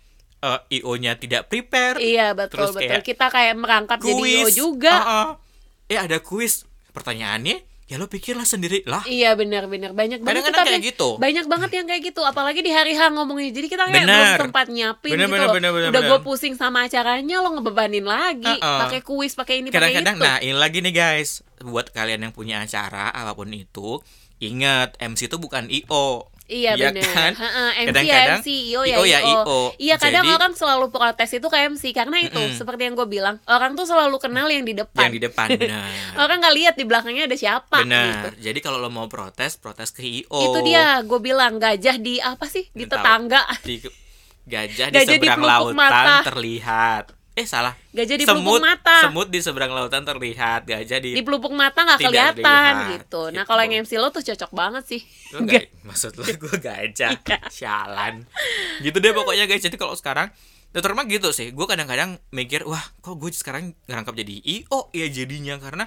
B: eh, io nya tidak prepare
A: Iya betul
B: Terus
A: betul.
B: kayak
A: Kita kayak merangkap jadi yo juga.
B: ah, ah. eh ada kuis pertanyaannya ya lo pikirlah sendiri lah
A: Iya benar-benar banyak banget
B: Kadang-kadang
A: kita
B: kayak gitu.
A: Banyak banget yang kayak gitu, apalagi di hari H ngomongnya. Jadi kita kayak
B: Bener.
A: belum sempat nyiapin
B: Bener,
A: gitu
B: bener,
A: loh.
B: bener, bener,
A: Udah gue
B: bener.
A: pusing sama acaranya lo ngebebanin lagi,
B: Uh-uh.
A: pakai kuis, pakai ini, pakai itu.
B: kadang-kadang nah ini lagi nih guys buat kalian yang punya acara apapun itu ingat MC itu bukan io
A: Iya
B: Iya
A: benar.
B: kan?
A: Ha-ha, MC
B: Kadang-kadang,
A: ya MC, IO ya
B: IO ya IO.
A: Iya kadang
B: Jadi-
A: orang selalu protes itu ke MC karena itu
B: Mm-mm.
A: seperti yang gue bilang orang tuh selalu kenal yang di depan.
B: yang di depan benar
A: Orang nggak lihat di belakangnya ada siapa. gitu.
B: Benar. Oh. Jadi kalau lo mau protes, protes ke IO.
A: Itu dia gue bilang gajah di apa sih di
B: Nggak tahu.
A: tetangga.
B: Di gajah, di
A: Gajah di
B: seberang
A: pelupuk
B: lautan
A: mata.
B: terlihat. Eh salah.
A: Gajah di pelupuk
B: semut,
A: mata.
B: Semut di seberang lautan terlihat. Gajah di.
A: di pelupuk mata nggak
B: Iya. Tidak
A: kelihatan
B: terlihat,
A: gitu. Nah
B: gitu.
A: kalau yang MC lo tuh cocok banget sih.
B: Lo ga- maksud lo gue gajah. Sialan. Gitu deh pokoknya guys. Jadi kalau sekarang terutama gitu sih. Gue kadang-kadang mikir, wah kok gue sekarang ngerangkap jadi IO ya jadinya karena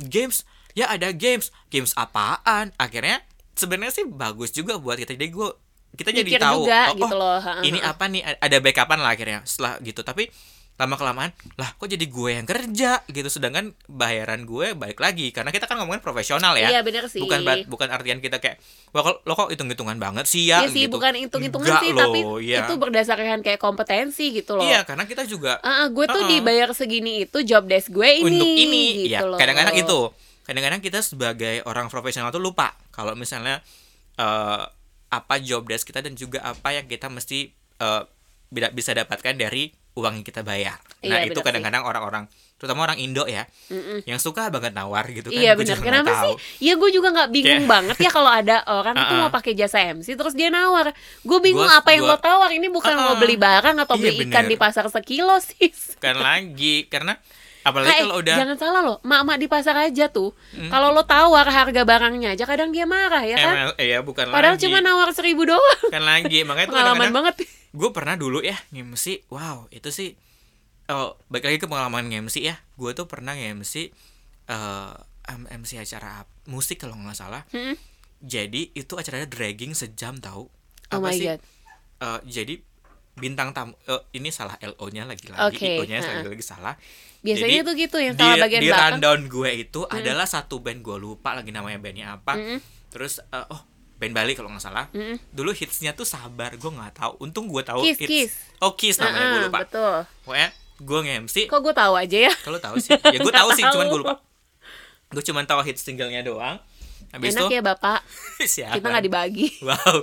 B: games ya ada games games apaan akhirnya sebenarnya sih bagus juga buat kita jadi gue kita jadi
A: Mikir
B: tahu
A: juga
B: oh,
A: gitu
B: oh,
A: loh. Ha, ha,
B: ini
A: ha.
B: apa nih ada backupan lah akhirnya setelah gitu tapi lama kelamaan lah kok jadi gue yang kerja gitu sedangkan bayaran gue balik lagi karena kita kan ngomongin profesional ya
A: Iya, bener sih.
B: bukan ba- bukan artian kita kayak wah kok- lo kok hitung hitungan banget sih ya
A: Iya sih
B: gitu.
A: bukan hitung-hitungan
B: Enggak
A: sih
B: loh,
A: tapi
B: iya.
A: itu berdasarkan kayak kompetensi gitu loh.
B: iya karena kita juga
A: Ah, ah, gue tuh
B: Uh-uh.
A: dibayar segini itu job desk gue ini.
B: untuk ini
A: gitu
B: ya
A: loh.
B: kadang-kadang itu kadang-kadang kita sebagai orang profesional tuh lupa kalau misalnya eh, apa job desk kita dan juga apa yang kita mesti eh, bila- bisa dapatkan dari uang yang kita bayar nah
A: Iya,
B: itu
A: benar sih.
B: kadang-kadang orang-orang terutama orang Indo ya yang suka banget nawar gitu kan
A: Iya
B: Gua juga
A: benar.
B: nggak
A: Kenapa
B: tahu.
A: sih? Ya gue juga nggak bingung
B: Kayak-
A: banget ya kalau ada orang tuh
B: Ah, ah.
A: mau pakai jasa MC terus dia nawar. Gue bingung
B: Gua-
A: apa yang
B: gua-
A: lo tawar ini bukan
B: Ah,
A: mau
B: ah.
A: beli barang atau
B: Iya,
A: beli ikan
B: bener.
A: di pasar sekilo sis.
B: bukan lagi karena apalagi
A: Eh,
B: kalau udah Hmm.
A: jangan salah loh, mak-mak di pasar aja tuh. Kalau lo tawar harga barangnya aja kadang dia marah ya kan.
B: ML ya bukan
A: Padahal
B: lagi
A: cuma nawar seribu doang.
B: bukan lagi makanya itu
A: Pengalaman
B: kadang-kadang-
A: banget.
B: gue pernah dulu ya ngemsi wow itu sih oh balik lagi ke pengalaman ngemsi ya gue tuh pernah ngemsi eh em- MC acara ap- musik kalau nggak salah
A: Mm-mm.
B: jadi itu acaranya dragging sejam tahu
A: Oh my God.
B: Eh, jadi bintang tamu eh, ini salah lo nya lagi lagi
A: Oke,
B: io nya
A: ha-ha.
B: lagi lagi salah
A: Biasanya tuh gitu, yang
B: di,
A: salah bagian
B: di
A: belakang. Hmm.
B: rundown gue itu adalah satu band gue lupa lagi namanya bandnya apa terus eh, oh band Bali kalau nggak salah
A: Mm-mm.
B: dulu hitsnya tuh sabar gue nggak tahu untung gue tahu
A: Hmm. Kiss,
B: hits
A: Kiss.
B: oh kiss namanya gue
A: Ah,
B: lupa
A: betul.
B: pokoknya gue nge-MC
A: Kok gue tahu aja ya?
B: kalau tahu sih ya gue tahu sih
A: Nggak
B: cuman gue
A: tahu.
B: lupa gue cuman tahu hits singlenya doang habis kan?
A: Enak ya bapak,
B: itu siapa
A: kita nggak dibagi.
B: Wow.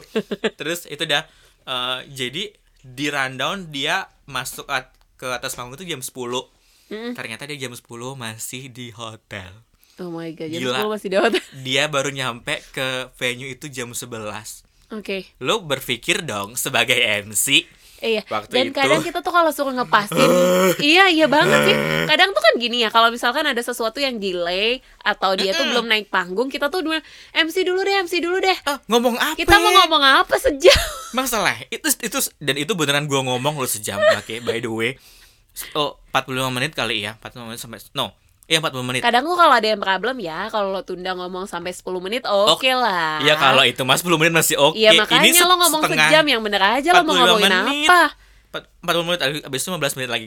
B: Terus itu dah eh, jadi di rundown dia masuk at- ke atas panggung itu jam 10.
A: Hmm.
B: Ternyata dia jam 10 masih di hotel.
A: Oh my god, jadi
B: Gila.
A: gue masih di hotel.
B: Dia baru nyampe ke venue itu jam 11.
A: Oke,
B: Lo berpikir dong sebagai "Eh, MC.
A: iya.
B: Waktu
A: Dan
B: itu-
A: kadang kita tuh kalau suka ngepasin, iya iya banget sih. Kadang tuh kan gini ya, kalau misalkan ada sesuatu yang delay atau dia tuh belum naik panggung, kita tuh cuma MC dulu deh, MC dulu deh.
B: Ah, ngomong apa?
A: Kita mau ngomong apa sejauh?
B: Masalah itu itu dan itu beneran gua ngomong lo sejam pakai by the way. Oh, 45 menit kali ya. 45 menit sampai no. Iya 40 menit.
A: Kadang tuh kalau ada yang problem ya, kalau lo tunda ngomong sampai 10 menit, oke lah.
B: Iya kalau itu Mas 10 menit masih oke.
A: Iya makanya
B: se-
A: lo ngomong
B: setengah
A: sejam ya. yang bener aja lo mau
B: 45
A: ngomongin
B: menit.
A: apa?
B: Empat- 40 menit habis itu 15 menit lagi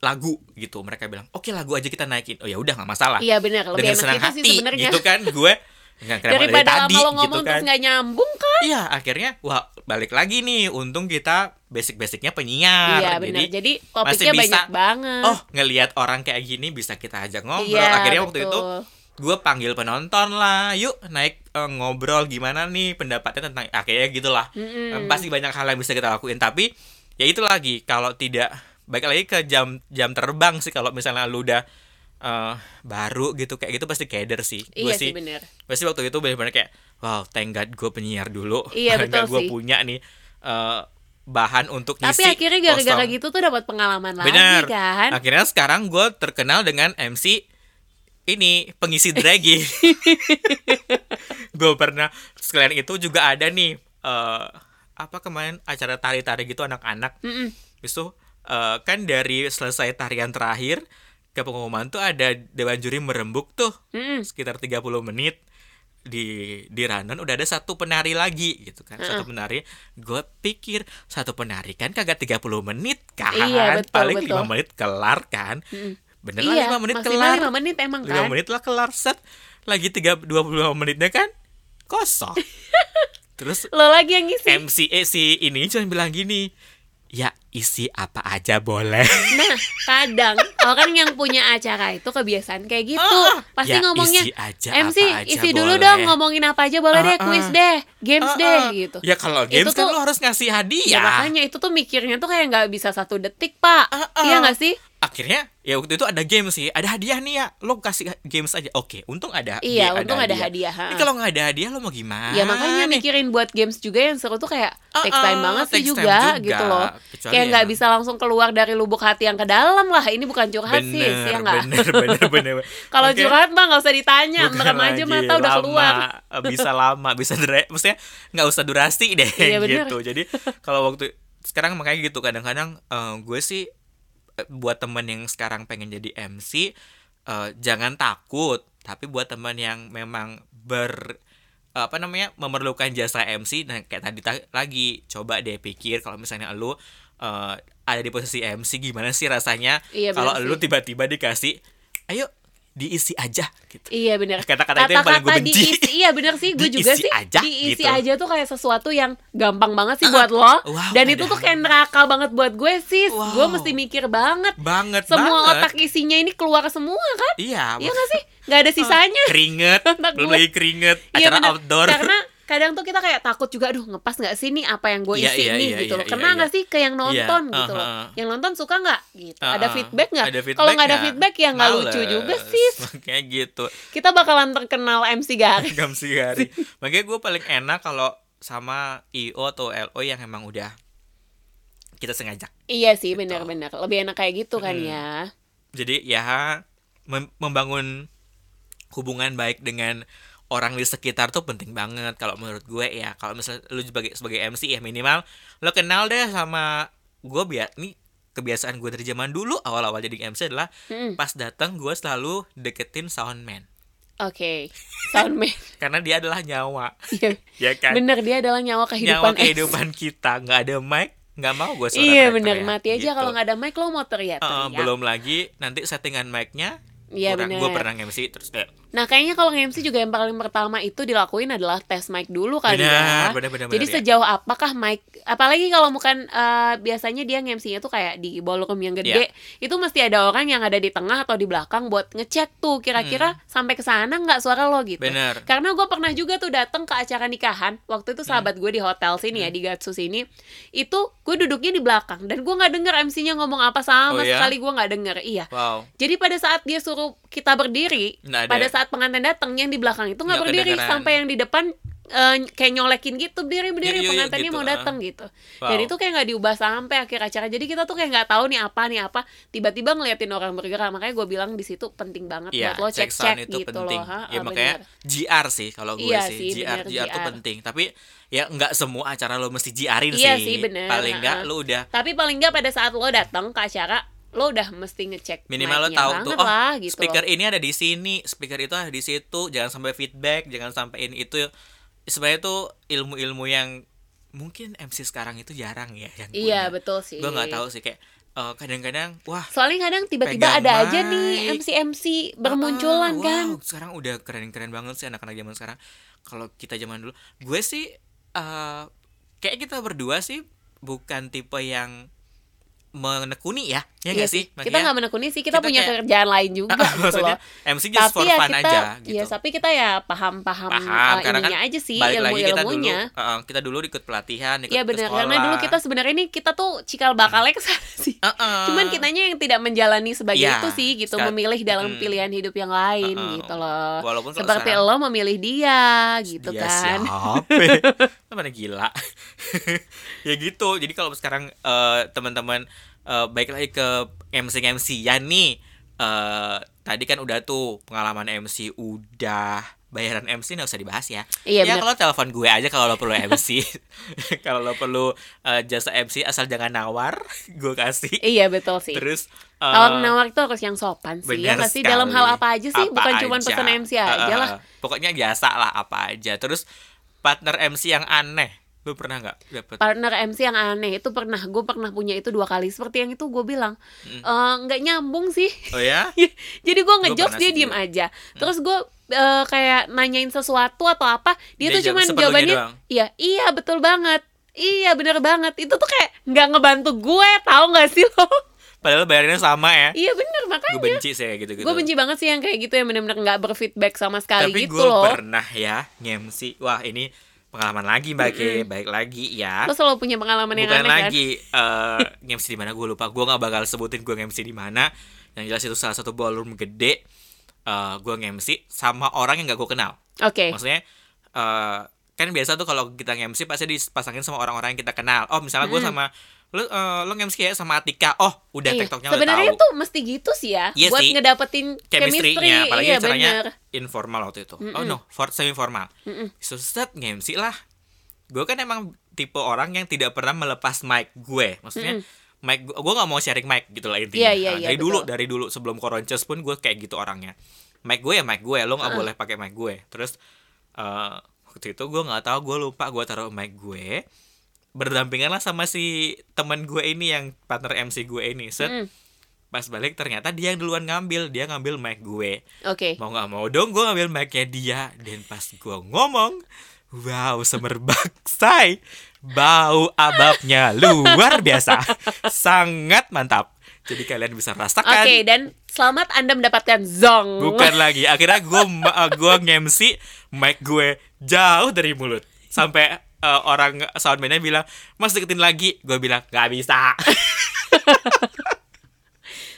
B: lagu gitu. Mereka bilang, "Oke, lagu aja kita naikin." Oh ya udah nggak masalah.
A: Iya bener, lebih
B: Ah, Dengan
A: enak
B: senang
A: gitu sih
B: hati
A: sebenarnya.
B: gitu kan gue. Nggak kenapa dari
A: Daripada
B: tadi
A: lama lo ngomong
B: gitu kan.
A: terus nggak nyambung kan?
B: Iya, akhirnya wah balik lagi nih. Untung kita basic-basicnya penyiar.
A: Iya
B: Ah, Jadi
A: benar. Jadi
B: masih
A: topiknya
B: bisa.
A: banyak banget.
B: Oh, ngelihat orang kayak gini bisa kita ajak ngobrol.
A: Iya,
B: Akhirnya waktu itu
A: betul.
B: gue panggil penonton lah, yuk naik eh, ngobrol gimana nih pendapatnya tentang akhirnya gitulah.
A: Mm-mm.
B: Eh, Pasti banyak hal yang bisa kita lakuin, tapi ya itu lagi kalau tidak baik lagi ke jam jam terbang sih kalau misalnya lu udah eh, baru gitu kayak gitu pasti keder sih. Gue
A: Iya sih
B: sih
A: bener.
B: pasti waktu itu benar-benar kayak wow, thank God gue penyiar dulu.
A: Iya,
B: Thank God
A: betul
B: gue
A: sih.
B: punya nih eh, bahan untuk
A: Tapi
B: ngisi
A: akhirnya gara-gara
B: kosong.
A: gitu tuh dapat pengalaman
B: Benar.
A: lagi kan.
B: Akhirnya sekarang gue terkenal dengan MC ini pengisi dragi. gue pernah sekalian itu juga ada nih eh, apa kemarin acara tari-tari gitu anak-anak.
A: Mm-mm.
B: Habis itu eh, kan dari selesai tarian terakhir ke pengumuman tuh ada dewan juri merembuk tuh
A: Mm-mm.
B: sekitar 30 menit di di rundown udah ada satu penari lagi gitu kan satu penari gue pikir satu penari kan kagak 30 menit kan
A: Iya, betul,
B: paling
A: betul.
B: 5 menit kelar kan bener
A: Iya.
B: lah 5 menit
A: maksimal
B: kelar
A: lima menit emang
B: 5
A: kan.
B: menit lah kelar set lagi 3 25 menitnya kan kosong terus
A: Lo lagi yang ngisi.
B: MC eh, si ini cuma bilang gini ya isi apa aja boleh
A: Nah kadang orang yang punya acara itu kebiasaan kayak gitu.
B: Ah,
A: Pasti
B: ya
A: ngomongnya.
B: isi aja,
A: MC
B: apa aja
A: isi dulu
B: boleh."
A: dong ngomongin apa aja boleh deh,
B: Ah, ah.
A: kuis deh, games
B: Ah,
A: deh
B: ah.
A: gitu.
B: ya kalau
A: Itu
B: games kan
A: tuh-
B: lo harus ngasih
A: Ya,
B: hadiah
A: makanya itu tuh mikirnya tuh kayak nggak bisa satu detik pak,
B: Ah, ah.
A: iya nggak sih?
B: akhirnya ya waktu itu ada game sih ada hadiah nih ya lo kasih games aja oke untung ada
A: Iya,
B: dia-
A: untung ada hadiah, ha.
B: Ini kalau nggak ada hadiah lo mau gimana
A: Ya makanya
B: nih?
A: mikirin buat games juga yang seru tuh kayak
B: Ah,
A: take time
B: ah,
A: banget sih
B: takes time
A: juga,
B: juga.
A: gitu loh.
B: Kecuali
A: kayak nggak
B: emang-
A: bisa langsung keluar dari lubuk hati yang ke dalam lah. Ini bukan curhat sih,
B: bener,
A: ya nggak?
B: bener bener bener
A: Kalau
B: Oke.
A: curhat mah nggak usah ditanya,
B: Bukan
A: merem aja
B: lagi,
A: mata udah
B: lama,
A: keluar.
B: bisa lama bisa dure maksudnya nggak usah durasi deh
A: Iya, bener.
B: gitu jadi kalau waktu sekarang makanya gitu kadang-kadang eh, gue sih eh, buat temen yang sekarang pengen jadi MC eh, jangan takut tapi buat temen yang memang ber eh, apa namanya memerlukan jasa MC nah kayak tadi ta- lagi coba deh pikir kalau misalnya lu eh, ada di posisi MC gimana sih rasanya
A: Iya, bener
B: kalau
A: sih.
B: lu tiba-tiba dikasih ayo diisi aja gitu
A: Iya bener
B: Kata-kata itu yang paling gue
A: Kata-kata
B: benci.
A: diisi- Iya bener sih Gue juga sih
B: Diisi aja,
A: Diisi
B: gitu.
A: aja tuh kayak sesuatu yang Gampang banget sih buat lo
B: Wow,
A: Dan itu tuh
B: padahal.
A: kayak neraka banget buat gue sih
B: Wow.
A: Gue mesti mikir banget
B: banget
A: Semua
B: banget.
A: otak isinya ini keluar semua kan
B: iya
A: Iya gak sih? Gak ada sisanya
B: keringet
A: Otak
B: belum
A: gue.
B: lagi keringet
A: Iya,
B: acara
A: bener.
B: outdoor
A: Karena kadang tuh kita kayak takut juga aduh ngepas nggak sih nih apa yang gue
B: Iya,
A: isi
B: iya,
A: nih
B: iya,
A: gitu
B: iya,
A: loh.
B: iya,
A: Kena nggak
B: iya.
A: sih ke yang nonton
B: Iya,
A: gitu loh.
B: aha.
A: Yang nonton suka nggak gitu. ada
B: Uh-uh.
A: feedback nggak?
B: Ada
A: Kalau nggak ada
B: feedback
A: feedback ya nggak lucu
B: Males.
A: juga sih.
B: makanya gitu
A: Kita bakalan terkenal MC Garis.
B: gam sih hari makanya gue paling enak kalau sama io atau lo yang emang udah kita sengaja
A: iya sih
B: Gitu.
A: benar-benar. Lebih enak kayak gitu kan ya.
B: jadi ya mem- membangun hubungan baik dengan orang di sekitar tuh penting banget kalau menurut gue ya kalau misalnya lu sebagai sebagai MC ya minimal lo kenal deh sama gue biar nih kebiasaan gue dari zaman dulu awal-awal jadi MC adalah
A: Mm-mm.
B: pas datang gue selalu deketin soundman
A: Oke. Soundman.
B: karena dia adalah nyawa
A: Iya.
B: ya kan
A: Bener dia adalah nyawa
B: nyawa
A: kehidupan MC.
B: kehidupan kita nggak ada mic nggak mau gue
A: Iya
B: suara teriak-teriak,
A: bener mati aja
B: gitu.
A: kalau nggak ada mic lo mau
B: Eh,
A: teriak-teriak.
B: belum lagi nanti settingan mic-nya
A: Iya,
B: kurang gue
A: bener.
B: pernah MC terus kayak
A: Nah, kayaknya kalau nge-MC juga yang paling pertama itu dilakuin adalah tes mic dulu kali ya.
B: Benar, benar, benar,
A: Jadi
B: benar, ya.
A: sejauh apakah mic apalagi kalau bukan eh, biasanya dia nge-MC-nya tuh kayak di ballroom yang
B: Iya.
A: gede, itu mesti ada orang yang ada di tengah atau di belakang buat ngecek tuh kira-kira sampai ke sana nggak suara lo gitu.
B: Hmm. Benar.
A: Karena gue pernah juga tuh datang ke acara nikahan. Waktu
B: Hmm.
A: itu sahabat gue di hotel sini ya di Gatsu sini. Itu gue duduknya di belakang dan gue nggak denger MC-nya ngomong apa sama
B: Oh, ya?
A: sekali gue nggak denger. Iya.
B: Wow.
A: Jadi pada saat dia suruh kita berdiri,
B: Nggak ada. ya?
A: pada saat pengantin datang yang di belakang itu nggak
B: Nggak
A: berdiri
B: kedengeran.
A: sampai yang di depan eh, kayak nyolekin gitu berdiri berdiri
B: Iya, iya, iya,
A: pengantinnya
B: gitu,
A: mau
B: ah.
A: datang gitu.
B: Wow.
A: Dan itu kayak nggak diubah sampai akhir acara. Jadi kita tuh kayak nggak tahu nih apa nih apa. Tiba-tiba ngeliatin orang bergerak. Makanya gue bilang di situ penting banget
B: Iya,
A: buat lo
B: cek sound
A: cek-cek
B: itu
A: gitu
B: penting.
A: loh. Ha,
B: ya
A: ah,
B: makanya
A: bener.
B: GR sih kalau gue
A: Iya
B: sih.
A: sih,
B: GR,
A: bener,
B: GR tuh
A: GR.
B: penting. Tapi ya nggak semua acara lo mesti GR-in
A: Iya
B: sih.
A: sih, bener,
B: Paling nggak
A: ha-ha.
B: lo udah
A: Tapi paling nggak pada saat lo datang ke acara, lo udah mesti ngecek
B: minimal lo
A: mic-nya
B: tahu
A: banget
B: tuh oh
A: lah, gitu loh.
B: speaker ini ada di sini, speaker itu ada di situ. Jangan sampai feedback, jangan sampai ini itu. Sebenarnya itu ilmu-ilmu yang mungkin MC sekarang itu jarang ya yang
A: Iya betul sih.
B: Gue nggak tahu sih kayak eh, kadang-kadang wah
A: Soalnya kadang tiba-tiba
B: Pegang
A: ada aja
B: mic.
A: nih MC-MC bermunculan
B: Ah,
A: kan.
B: wow, sekarang udah keren-keren banget sih anak-anak zaman sekarang. Kalau kita zaman dulu, gue sih eh kayak kita berdua sih bukan tipe yang menekuni ya, ya
A: Iya
B: nggak sih?
A: Kita nggak menekuni sih, kita,
B: kita
A: punya
B: kayak-
A: kerjaan lain juga gitu
B: maksudnya
A: loh.
B: MC just for fun
A: kita,
B: aja
A: ya
B: gitu.
A: tapi kita ya paham-paham
B: Paham,
A: uh,
B: karena kan
A: ininya aja sih
B: Balik lagi kita dulu,
A: ilmu-ilmunya.
B: eh, eh, kita dulu ikut pelatihan, ikut
A: Iya
B: ke
A: benar,
B: sekolah.
A: karena dulu kita sebenarnya ini kita tuh cikal bakalnya ke sana sih.
B: Eh, eh.
A: Cuman kitanya yang tidak menjalani sebagai
B: Iya,
A: itu sih gitu,
B: sekarang-
A: memilih dalam
B: Mm.
A: pilihan hidup yang lain
B: Uh-uh.
A: gitu loh.
B: Walaupun kalau
A: Seperti
B: sekarang-
A: lo memilih dia gitu
B: Dia
A: kan.
B: Iya siapa? Mana gila. ya gitu. Jadi kalau sekarang eh, teman-teman eh, baik lagi ke MC MC ya nih. eh, tadi kan udah tuh pengalaman MC udah bayaran MC nggak usah dibahas ya.
A: Iya,
B: ya
A: benar.
B: kalau telepon gue aja kalau lo perlu MC. kalau lo perlu eh, jasa MC asal jangan nawar, gue kasih.
A: Iya betul sih.
B: Terus eh,
A: Tawar nawar itu harus yang sopan sih ya
B: Benar
A: nggak sih
B: sekali.
A: dalam hal apa aja sih
B: Apa
A: bukan cuma
B: aja.
A: pesan MC aja
B: Eh,
A: lah
B: Pokoknya biasa lah apa aja. Terus partner MC yang aneh, lu pernah nggak dapet?
A: partner MC yang aneh itu pernah gue pernah punya itu dua kali seperti yang itu gue bilang
B: Mm.
A: "Eh, nggak nyambung sih
B: Oh ya?
A: jadi gue ngejobs
B: pernah
A: dia
B: sih gitu?
A: diem
B: Hmm. juga.
A: aja terus gue eh, kayak nanyain sesuatu atau apa dia,
B: Dia
A: tuh
B: jawab
A: cuman
B: seperlunya
A: jawabannya
B: doang.
A: iya iya betul banget iya bener banget itu tuh kayak nggak ngebantu gue tahu nggak sih lo
B: Padahal bayarannya sama ya.
A: iya bener
B: Gue
A: makanya
B: benci sih kayak gitu-gitu.
A: gue benci banget sih yang kayak gitu yang bener-bener nggak berfeedback sama sekali
B: Tapi
A: gitu
B: gue
A: loh
B: pernah ya ngemsi. Wah ini pengalaman lagi mbak Ki. baik lagi ya.
A: lo selalu punya pengalaman yang
B: Bukan
A: aneh kan?
B: lagi eh ngemsi di mana gue lupa. Gue nggak bakal sebutin gue ngemsi di mana. Yang jelas itu salah satu ballroom gede. Eh gue ngemsi sama orang yang gak gue kenal.
A: Oke.
B: maksudnya eh kan biasa tuh kalau kita nge-MC pasti dipasangin sama orang-orang yang kita kenal oh misalnya gue sama lu eh, lu nge-MC ya sama Atika oh udah
A: Iya.
B: tektoknya udah
A: Sebenarnya
B: tahu
A: tuh mesti gitu sih ya
B: Iya
A: buat
B: sih.
A: ngedapetin chemistry.
B: chemistry-nya apalagi
A: iya
B: caranya
A: bener.
B: informal waktu itu oh no for semi formal so set nge-MC lah gue kan emang tipe orang yang tidak pernah melepas mic gue maksudnya mic gue gue nggak mau sharing mic gitu lah intinya
A: Iya, iya,
B: Nah,
A: iya,
B: dari dulu
A: betul.
B: dari dulu sebelum koronces pun gue kayak gitu orangnya mic gue ya mic gue lo nggak boleh pakai mic gue terus eh, waktu itu gue nggak tahu gue lupa gue taruh mic gue berdampingan lah sama si teman gue ini yang partner MC gue ini set
A: Mm.
B: pas balik ternyata dia yang duluan ngambil dia ngambil mic gue
A: Oke.
B: mau nggak mau dong gue ngambil mic-nya dia dan pas gue ngomong wow semerbak say bau ababnya luar biasa sangat mantap jadi kalian bisa
A: Oke
B: rasakan
A: dan selamat Anda mendapatkan zong.
B: bukan lagi akhirnya eh, gue gue ngemsi mic gue jauh dari mulut sampai eh, orang soundman-nya bilang mas deketin lagi gue bilang nggak bisa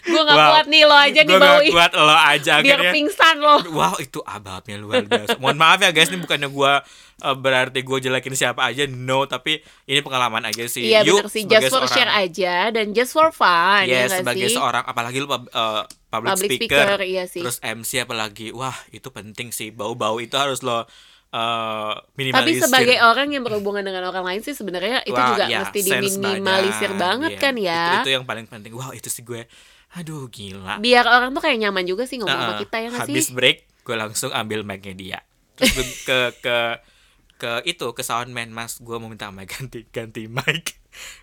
A: Gue gak
B: Wow.
A: kuat nih lo aja nih
B: Gua nggak
A: bauin.
B: kuat lo aja
A: Biar
B: akhirnya
A: pingsan lo.
B: Wow itu ababnya luar biasa. Mohon maaf ya guys, ini bukannya gue berarti gue jelekin siapa aja, no. Tapi ini pengalaman aja sih.
A: Iya bener
B: Yuk,
A: sih just
B: sebagai
A: for
B: seorang-
A: share aja dan just for fun ya
B: Yes,
A: gak
B: sebagai
A: sih?
B: seorang apalagi lu pub- eh, public,
A: Public
B: speaker,
A: speaker, iya sih.
B: terus MC apalagi, wah itu penting sih. Bau-bau itu harus lo eh,
A: Tapi
B: minimalisir.
A: sebagai orang yang berhubungan dengan orang lain sih sebenarnya itu
B: Wah,
A: juga
B: iya,
A: mesti
B: sense
A: diminimalisir
B: badan,
A: banget
B: iya.
A: kan ya.
B: Itu, ya. itu yang paling penting. Wow itu sih gue, aduh gila.
A: Biar orang tuh kayak nyaman juga sih ngomong sama
B: Nah,
A: kita ya gak sih?
B: habis break gue langsung ambil mic-nya dia terus gue ke ke ke itu ke soundman mas gue mau minta mic ganti ganti mic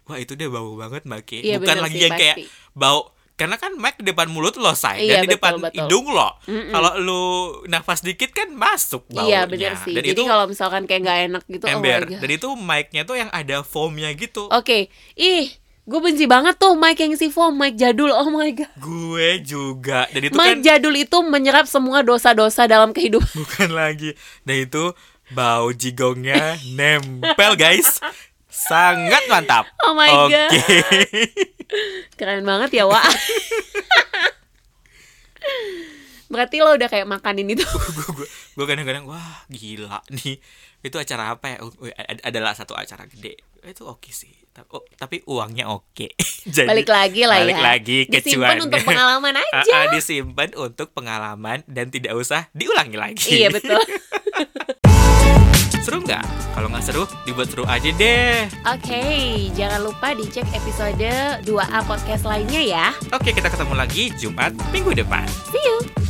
B: wah itu dia bau banget mbak Ki.
A: Iya,
B: bukan
A: bener
B: lagi
A: sih,
B: yang kayak
A: pasti.
B: bau karena kan mic di depan mulut lo say
A: Iya,
B: dan di
A: betul,
B: depan
A: betul.
B: hidung lo
A: Mm-mm.
B: kalau lo nafas dikit kan masuk
A: Iya
B: baunya
A: benar sih.
B: dan
A: Jadi
B: itu
A: kalau misalkan kayak nggak enak gitu, oh my
B: ember
A: God. Oh.
B: dan itu mic-nya tuh yang ada foamnya gitu
A: Oke, ih, gue benci banget tuh mic yang si foam, mic jadul. Oh my god,
B: gue juga dan itu
A: mic
B: kan
A: jadul itu menyerap semua dosa-dosa dalam kehidupan.
B: bukan lagi dan itu bau jigongnya nempel guys sangat mantap
A: Oh my God.
B: oke
A: Keren banget ya, Wak. Berarti lo udah kayak makanin itu.
B: gue kadang-kadang wah gila nih itu acara apa ya Oh, ad- adalah satu acara gede itu oke sih Ta- oh, tapi uangnya oke Jadi,
A: Balik lagi lah
B: balik
A: ya.
B: lagi ke
A: Disimpan
B: cuan.
A: untuk pengalaman
B: Ah,
A: aja.
B: ah, disimpan untuk pengalaman dan tidak usah diulangi lagi
A: iya betul. Oke,
B: seru nggak kalau nggak seru dibuat seru aja deh
A: jangan lupa dicek episode 2A podcast lainnya ya.
B: oke kita ketemu lagi Jumat minggu depan
A: See you.